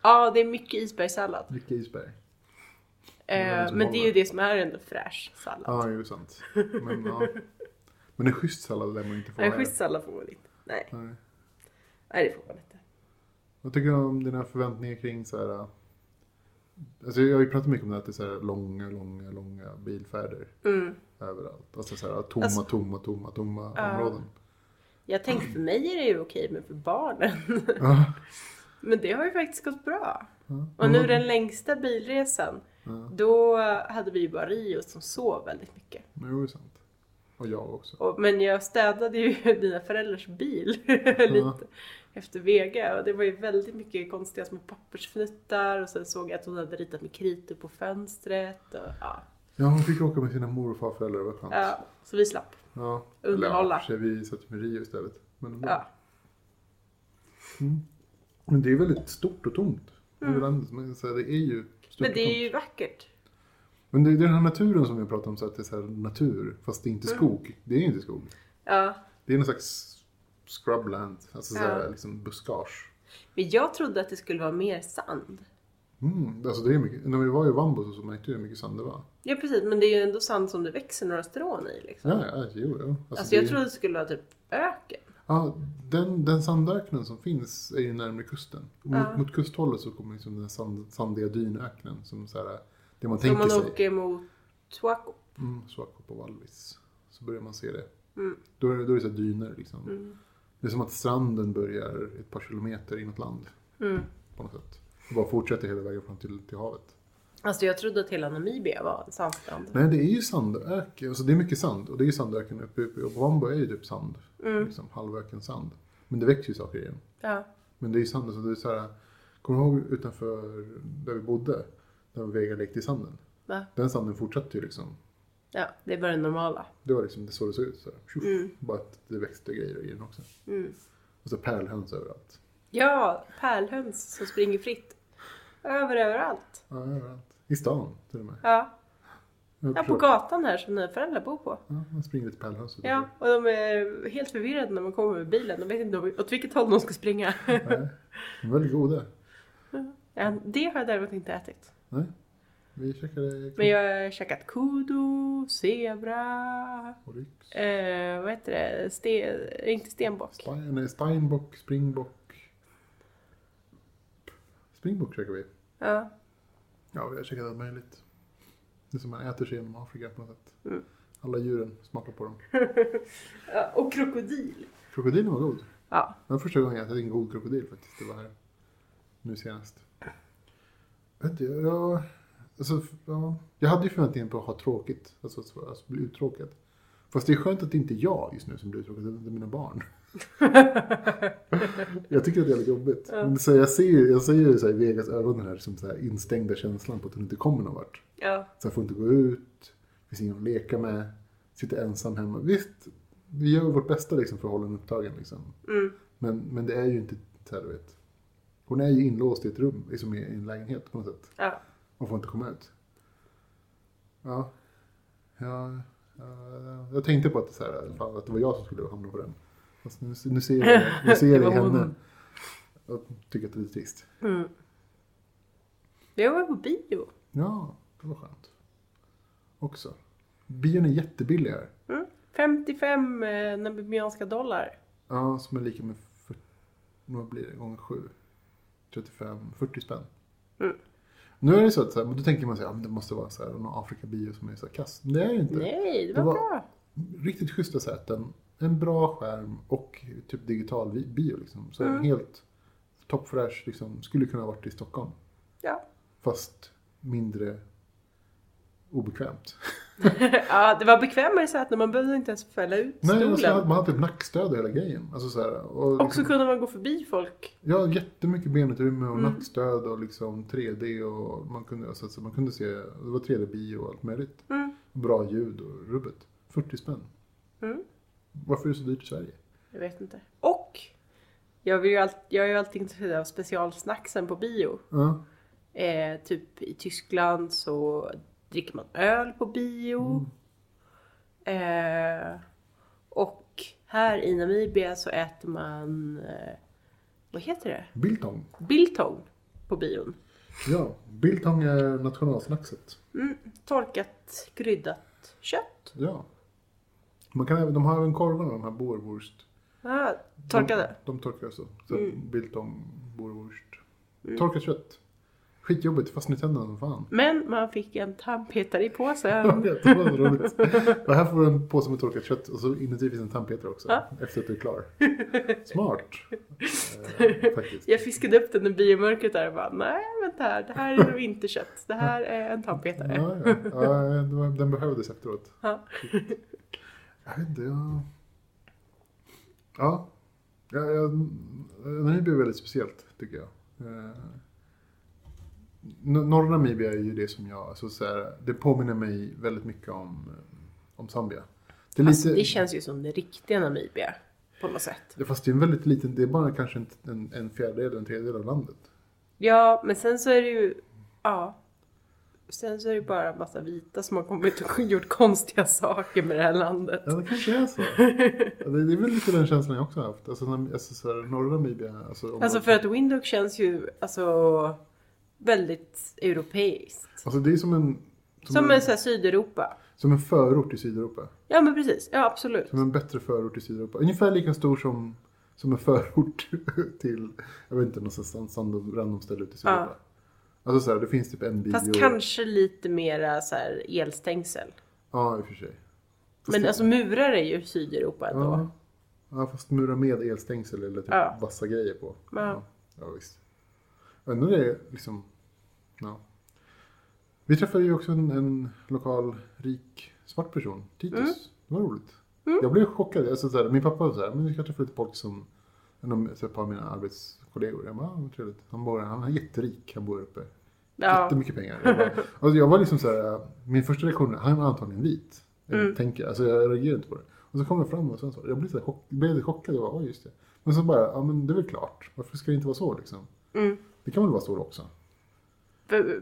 Ja, det är mycket isbergssallad. Mycket isberg. Ja, det Eh, som men det är ju håller. det som är en fräsch sallad. Ja, ju sant. Men, ja. men en schysst sallad lär man inte få Nej, här. schysst sallad får man inte. Nej, Nej. nej det får man inte. Vad tycker du om dina förväntningar kring så här... äh, Alltså jag har ju pratat mycket om det här, att det är så här långa, långa, långa bilfärder Mm. överallt. Alltså så här tomma, Alltså- tomma, tomma, tomma Ja. områden. Jag tänkte för mig är det ju okej, men för barnen. [LAUGHS] Ja. Men det har ju faktiskt gått bra. Ja. Och nu den längsta bilresan, Ja. då hade vi ju bara Rio som sov väldigt mycket. Jo, det är sant. Och jag också. Och, men jag städade ju [LAUGHS] dina föräldrars bil [LAUGHS] lite efter Vega och det var ju väldigt mycket konstiga små pappersfnuttar och sen såg jag att hon hade ritat med kritor på fönstret och ja. Ja, hon fick åka med sina mor och farföräldrar, det var skönt. ja så vi slapp. Ja. Underhålla. Eller, ja, för sig, vi satt med Rio istället. Men, ändå. Ja. men det är väldigt stort och tomt. Mm. Landet, men så här, det är ju stort Men det och är tomt. ju vackert. Men det är den här naturen som vi pratar om, så att det är så här natur, fast det är Mm. inte skog. Det är ju inte skog. Ja. Det är någon slags scrubland, alltså så här, Ja. liksom buskage. Men jag trodde att det skulle vara mer sand. Mm, alltså det är mycket. När vi var i Vambo så såg man inte hur mycket sand det var. Ja precis, men det är ju ändå sand som det växer några strån i liksom. Ja, ja, jo, jo. Alltså, alltså jag det är- trodde det skulle vara typ öken. Ja, den, den sandöknen som finns är ju närmare kusten. Mot, Ja. mot kusthållet så kommer liksom den här sand, sandiga dynöknen som så här, det man Så om tänker man sig. åker mot Tuaco. Mm, Swaco på Valvis. Så börjar man se det. Mm. Då är det, då är det så här dyner liksom. Mm. Det är som att stranden börjar ett par kilometer inåt land Mm. på något sätt. Och bara fortsätter hela vägen fram till, till havet. Alltså jag trodde att hela Namibia var en sandstrand. Nej, det är ju sandöken. Alltså det är mycket sand. Och det är ju sandöken uppe uppe. Och Wambo är ju typ sand. Mm. Liksom, halvöken sand. Men det växer ju saker igen. Ja. Men det är ju sand. Så det är så här, kommer du ihåg utanför där vi bodde? Där Vega lekte i sanden. Va? Den sanden fortsatte ju liksom. ja, det är bara det normala. Det var liksom det så det såg ut. Så här. Tjoff. Mm. Bara att det växte grejer i den också. Mm. Och så pärlhöns överallt. Ja, pärlhöns som springer fritt. Över överallt. Ja, överallt. I stan till och med. Ja. Mm. Jag ja, på försöker- gatan här som dina föräldrar bor på. Ja, man springer lite pärlhöns. Ja, och de är helt förvirrade när man kommer med bilen. De vet inte åt vilket håll de ska springa. Nej, de är väldigt goda. Ja, det har jag däremot inte ätit. Nej. Vi käkade Men jag har käkat kudu, zebra, och ryx. eh, vad heter det, Ste- inte stenbock. Stein, nej, steinbock, springbock. Springboks käkar vi. Ja. Ja, vi har käkat allt möjligt. Det är som man äter sig genom Afrika på något sätt. Mm. Alla djuren, smaka på dem. [LAUGHS] Ja, Och krokodil. Krokodilen var god. Ja. Det var första gången jag ätit en god krokodil faktiskt. Det var här nu senast. Jag vet inte, jag... Alltså, ja, jag hade ju förväntningen på att ha tråkigt. Alltså, att alltså, bli uttråkad. Fast det är skönt att det inte är jag just nu som blir uttråkad, utan det är mina barn. jag tycker att det är lite jobbigt. Men så jag ser ju jag ser ju så här, i Vegas ögonen här som så här, instängda känslan på att hon inte kommer någon vart. Ja. Så jag får inte gå ut, finns ingen att leka med, sitter ensam hemma. Visst, vi gör vårt bästa liksom, för att hålla henne upptagen. Liksom. Mm. Men, men det är ju inte så här, du vet. Hon är ju inlåst i ett rum, liksom i en lägenhet på något sätt. Ja. Hon får inte komma ut. Ja. ja, ja jag tänkte på att det, så här, fan, att det var jag som skulle hamna på den. Fast nu, nu ser jag, [LAUGHS] nu ser Det var jag henne. hon. Jag tycker att det är lite trist. Mm. Jag var på bio. Ja, det var skönt. Också. Bion är jättebillig här. Mm. 55 eh, namibianska dollar. Ja, som är lika med 40, vad blir det, gånger 7. 35, 40 spänn. Mm. Nu är det så att så här, men då tänker man sig att det måste vara så här, någon Afrika-bio som är så här kass. Men Det är det inte. Nej, det Det var, var- bra. Riktigt schyssta säten, en bra skärm och typ digital vi- bio. Liksom. Så Mm. en helt toppfräsch, liksom, skulle kunna ha varit i Stockholm. Ja. Fast mindre obekvämt. [LAUGHS] ja, det var bekvämare så att man behövde inte ens fälla ut Nej, stolen. alltså, man hade typ nackstöd och hela grejen. Alltså, så här, och, Och så kunde man gå förbi folk. Ja, jättemycket benutrymme och Mm. nackstöd och liksom 3D och man kunde, alltså, alltså, man kunde se, det var 3D-bio och allt möjligt. Mm. Bra ljud och rubbet. 40 spänn. Mm. Varför är det så dyrt i Sverige? Jag vet inte. Och jag, vill ju all, jag är ju alltid intresserad av specialsnacksen på bio. Ja, Eh, typ i Tyskland så dricker man öl på bio. Mm. Eh, och här i Namibia så äter man, eh, vad heter det? Biltong. Biltong på bion. Ja, Biltong är nationalsnackset. Mm, torkat, kryddat kött. Ja. Man kan, även- de har även korvarna, de här boerwurst. Ah, torkade. De, de torkar så. så Mm. Biltong, boerwurst. Mm. Torkat kött. Skitjobbigt, fastnar i tänderna som fan. Men man fick en tandpetare i [LAUGHS] Jag påsen. vet, det var så roligt. Och här får du en påse med torkat kött och så inuti finns en tandpetare också. Ja. Efter att du är [LAUGHS] klar. Smart. Eh, faktiskt. Jag fiskade upp den i biomörkret där och bara nej vänta här, det här är nog inte kött, det här är en Ja, tandpetare. ja. ja det var- den behövdes efteråt. Ja. Jag vet inte, jag... Ja. ja jag... Namibia är väldigt speciellt, tycker jag. Eh, n- Norra Namibia är ju det som jag... Alltså, så här, det påminner mig väldigt mycket om, eh, om Zambia. Det är Alltså, lite- det känns ju som det riktiga Namibia på något sätt. Ja, Fast det är en väldigt liten, det är bara kanske en, en, en fjärdedel, en tredjedel av landet. Ja, men sen så är det ju, ja. Sen så är det bara en massa vita som har kommit och [LAUGHS] gjort konstiga saker med det här landet. Ja, det kanske är så. [LAUGHS] Ja, det, det är väl lite den känslan jag också har haft. Alltså, när, alltså så här, norra Namibia. Alltså, området- Alltså för att Windhoek känns ju alltså väldigt europeiskt. alltså det är som en, som, Som en, en sån här Sydeuropa. som en förort i Sydeuropa. Ja men precis, ja absolut. Som en bättre förort i Sydeuropa. Ungefär lika stor som, som en förort [LAUGHS] till, jag vet inte, någonstans random, random ställe ute i Sydeuropa. Alltså så här, det finns typ en bio. Fast kanske lite mera så här elstängsel. Ja, i och för sig. Fast Men det- alltså murar är ju Sydeuropa ändå. Ja. ja, fast mura med elstängsel eller typ Ja. vassa grejer på. Ja. ja visst. Undrar det är liksom, ja. Vi träffade ju också en, en lokal rik svart person, Titus. Mm. Det var roligt. Jag blev chockad. Alltså, så här, min pappa var så här, men vi ska träffa lite folk som, en av- så ett par av mina arbetskollegor. Jag bara, ah, vad trevligt. Han, bor, han är jätterik, han bor uppe. Ja. Jättemycket pengar. Jag, bara, alltså jag var liksom så här, min första reaktion, är, han är antagligen vit. Jag Mm. tänker, alltså jag reagerar inte på det. Och så kom jag fram och sen så, jag blev, så här chock, blev lite chockad, jag bara, oj just det. Men så bara, ja men det är väl klart, varför ska det inte vara så liksom? Mm. Det kan väl vara så också? För,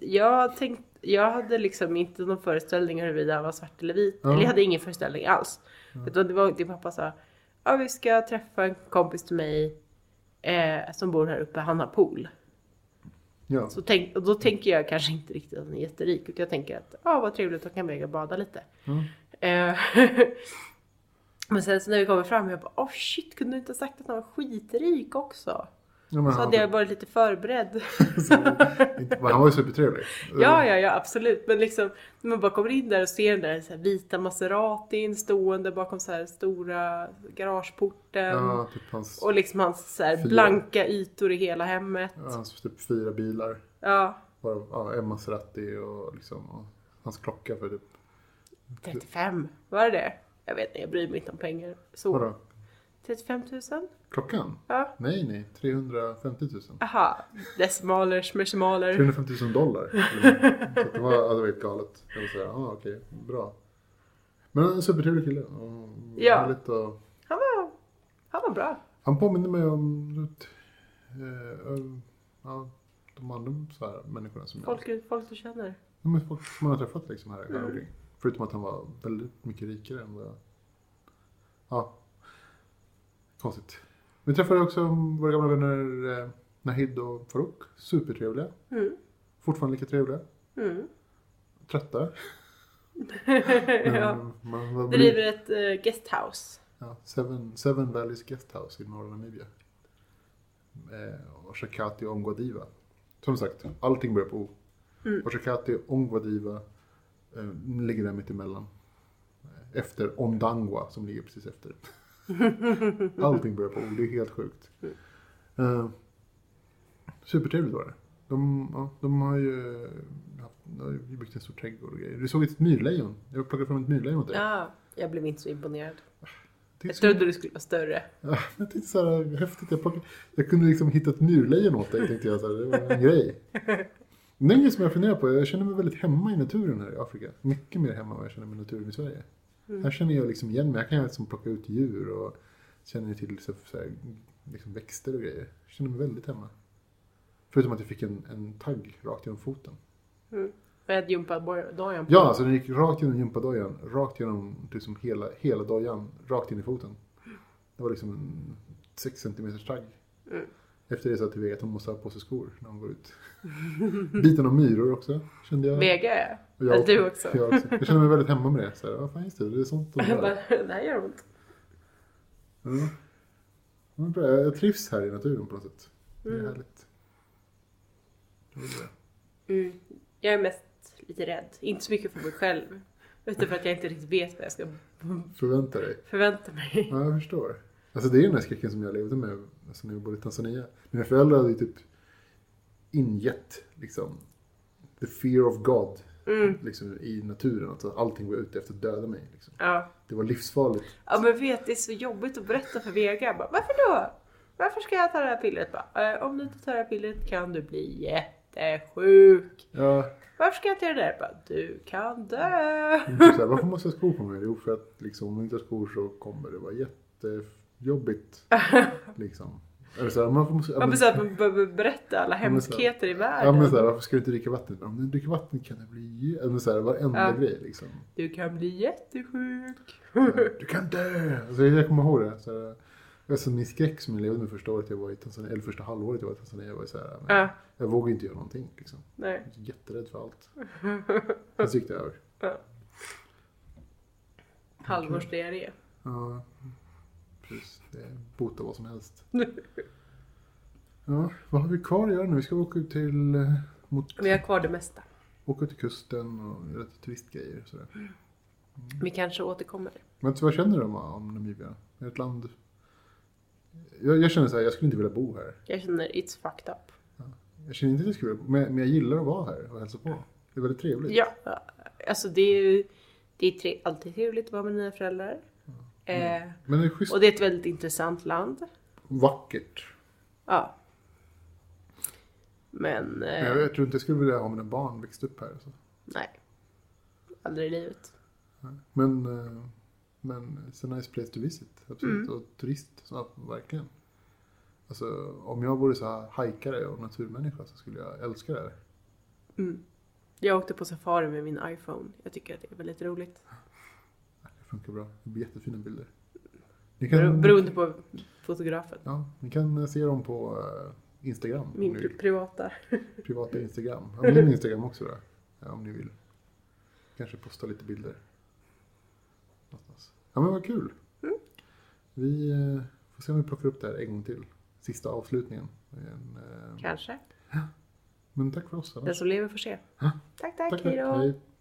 Jag tänkte, jag hade liksom inte någon föreställning huruvida han var svart eller vit. Ja. Eller jag hade ingen föreställning alls. Utan det var din pappa sa, ja vi ska träffa en kompis till mig eh, som bor här uppe, han har pool. Ja, alltså. Så tänk, och då tänker jag kanske inte riktigt att han är jätterik, utan jag tänker att, ja vad trevligt, då kan vi och bada lite. Mm. Eh, [LAUGHS] Men sen så när vi kommer fram, jag bara, åh shit, kunde du inte ha sagt att han var skitrik också? Ja, men Så han, [LAUGHS] hade jag varit lite förberedd. inte- men han var ju supertrevlig. Ja, ja, ja absolut. Men liksom, när man bara kommer in där och ser den där så här, vita Maseratin stående bakom så här stora garageporten. Ja, typ hans, Och liksom hans så här, Fyra. blanka ytor i hela hemmet. ja, hans typ fyra bilar. Ja, Varav ja, en Maserati och, liksom, och hans klocka för typ... 35. Var det det? Jag vet inte, jag bryr mig inte om pengar. Så. Vadå? 35 000? Klockan? Oh. Ja. Nej, nej. 350 000. Aha, decimaler, schmecimaler. 350 000 [LAUGHS] dollar. Så att det var, ja, det var helt galet. Jag var såhär, ah, okej, bra. Men en supertrevlig kille. Och Ja. härligt och- Han var, han var bra. han påminner mig om Rut, eh, eh, ja, de andra så här, människorna som jag... Folk, Mm. folk du känner. Ja, men folk som man har träffat liksom här, här omkring. Förutom att han var väldigt mycket rikare än vad jag... Ja. Konstigt. Vi träffade också våra gamla vänner eh, Nahid och Farouk. Supertrevliga. Mm. Fortfarande lika trevliga. Mm. Trötta. [LAUGHS] ja. Mm, Man var Driver ett eh, guesthouse. ja, Seven, Seven Valleys Guesthouse i norra Namibia. Eh, och Shakati och Ongwadiva. Som sagt, allting börjar på O. Mm. Och Shakati och Ongwadiva eh, ligger där mittemellan. Eh, Efter Ondangwa som ligger precis [LAUGHS] efter. allting börjar på O, det är helt sjukt. Mm. Eh, supertrevligt var det. De, ja, de har ju haft, de har ju byggt en stor trädgård och grejer. Du såg ett myrlejon. Jag plockade fram ett myrlejon åt dig. Ja, jag blev inte så imponerad. Det är Jag så- trodde du skulle vara större. Ja, [LAUGHS] Jag tänkte så här, häftigt. Jag, plockade, jag kunde liksom hitta ett myrlejon åt dig, tänkte jag. Så här, det var en grej. Det är en grej som jag funderar på. Jag känner mig väldigt hemma i naturen här i Afrika. Mycket mer hemma än vad jag känner mig i naturen i Sverige. Här känner jag liksom igen mig. Här kan jag liksom plocka ut djur och känner till så, så här, liksom växter och grejer. Jag känner mig väldigt hemma. Förutom att jag fick en, en tagg rakt genom foten. Med gympadojan på. Ja, alltså den gick rakt genom gympadojan, rakt genom liksom hela, hela dojan, rakt in i foten. Det var liksom en 6 cm tagg. Mm. Efter det sa jag till Vega att hon måste ha på sig skor när hon går ut. [LAUGHS] Biten av myror också, kände jag. Vega Och ja, du också. Jag, också. jag kände mig väldigt hemma med det. Så här, ja, fan, just det, det är sånt de [LAUGHS] Jag gör. bara, det här gör ont. Mm. Men bra, Jag trivs här i naturen på något sätt. Det är Mm. härligt. Det var bra. Mm. Jag är mest lite rädd. Inte så mycket för mig själv. Utan för att jag inte riktigt vet vad jag ska Förvänta dig. förvänta mig. Ja, jag förstår. Alltså det är den här skräcken som jag levde med alltså, när jag bodde i Tanzania. Mina föräldrar hade ju typ ingett liksom the fear of God Mm. liksom, i naturen. Alltså, att allting var ute efter att döda mig. Liksom. Ja. Det var livsfarligt. ja, men vet det är så jobbigt att berätta för Vega. Jag Bara, Varför då? Varför ska jag ta det här pillret? Bara, "Eh, om du inte tar det här pillret kan du bli jättesjuk. Ja, Varför ska jag inte göra det där? Bara, du kan dö. så här, varför måste jag ha skor på mig? Jo, för att liksom, om jag inte har skor så kommer det vara [LAUGHS] jättejobbigt. Liksom. Eller så här, man får, måste, ja, Man men, måste att man behöver berätta alla Ja, men så- hemskheter i ja, men, så världen. här, varför ska du inte dricka vatten? Om du inte dricker vatten kan det bli... jä- Ja, men, så här, varenda Ja. grej liksom. Du kan bli jättesjuk. Du kan dö! Alltså, jag kommer ihåg det. Så här, alltså, min skräck som jag levde med första året jag var i Tanzania, eller första halvåret jag var i Tanzania var ju så här, men, Ja, jag vågade inte göra någonting. Liksom. nej. Jag var jätterädd för allt. Men så gick det över. Halvårsdiarré. Ja, precis. Det botar vad som helst. Ja, vad har vi kvar att göra nu? Vi ska åka ut till, eh, mot, Vi har kvar det mesta. åka ut till kusten och göra lite turistgrejer. och Så där. Vi kanske återkommer. Men så vad känner du om, om Namibia? Är det ett land... Jag, jag känner så här, jag skulle inte vilja bo här. Jag känner it's fucked up. Jag känner inte att jag skulle vilja bo, men, men jag gillar att vara här och hälsa på. Det är väldigt trevligt. Ja, alltså det är ju det är tre, alltid trevligt att vara med dina föräldrar. Eh, Men det är schysst, och det är ett väldigt intressant land. vackert. Ja. Men Men eh, Jag, jag tror inte jag skulle vilja ha mina barn växt upp här. Så. nej. Aldrig i livet. Men, eh, men it's a nice place to visit. Absolut. Mm. Och turist, så, verkligen. Alltså, om jag vore så här hajkare och naturmänniska så skulle jag älska det här. Jag åkte på safari med min iPhone. Jag tycker att det är väldigt roligt. Det funkar bra. Det blir jättefina bilder. Ni Bero, beroende på fotografen. Ja, ni kan se dem på eh, Instagram. om Min ni pri- privata. privata Instagram. Ja, min Instagram också då. ja, Om ni vill. Kanske posta lite bilder. Mm. Någonstans. Ja men vad kul. Vi eh, får se om vi plockar upp det här en gång till. sista avslutningen. En, eh, Kanske. Men tack för oss. Den annars. som lever får se. Ja. Tack, tack. Hej då. Hej.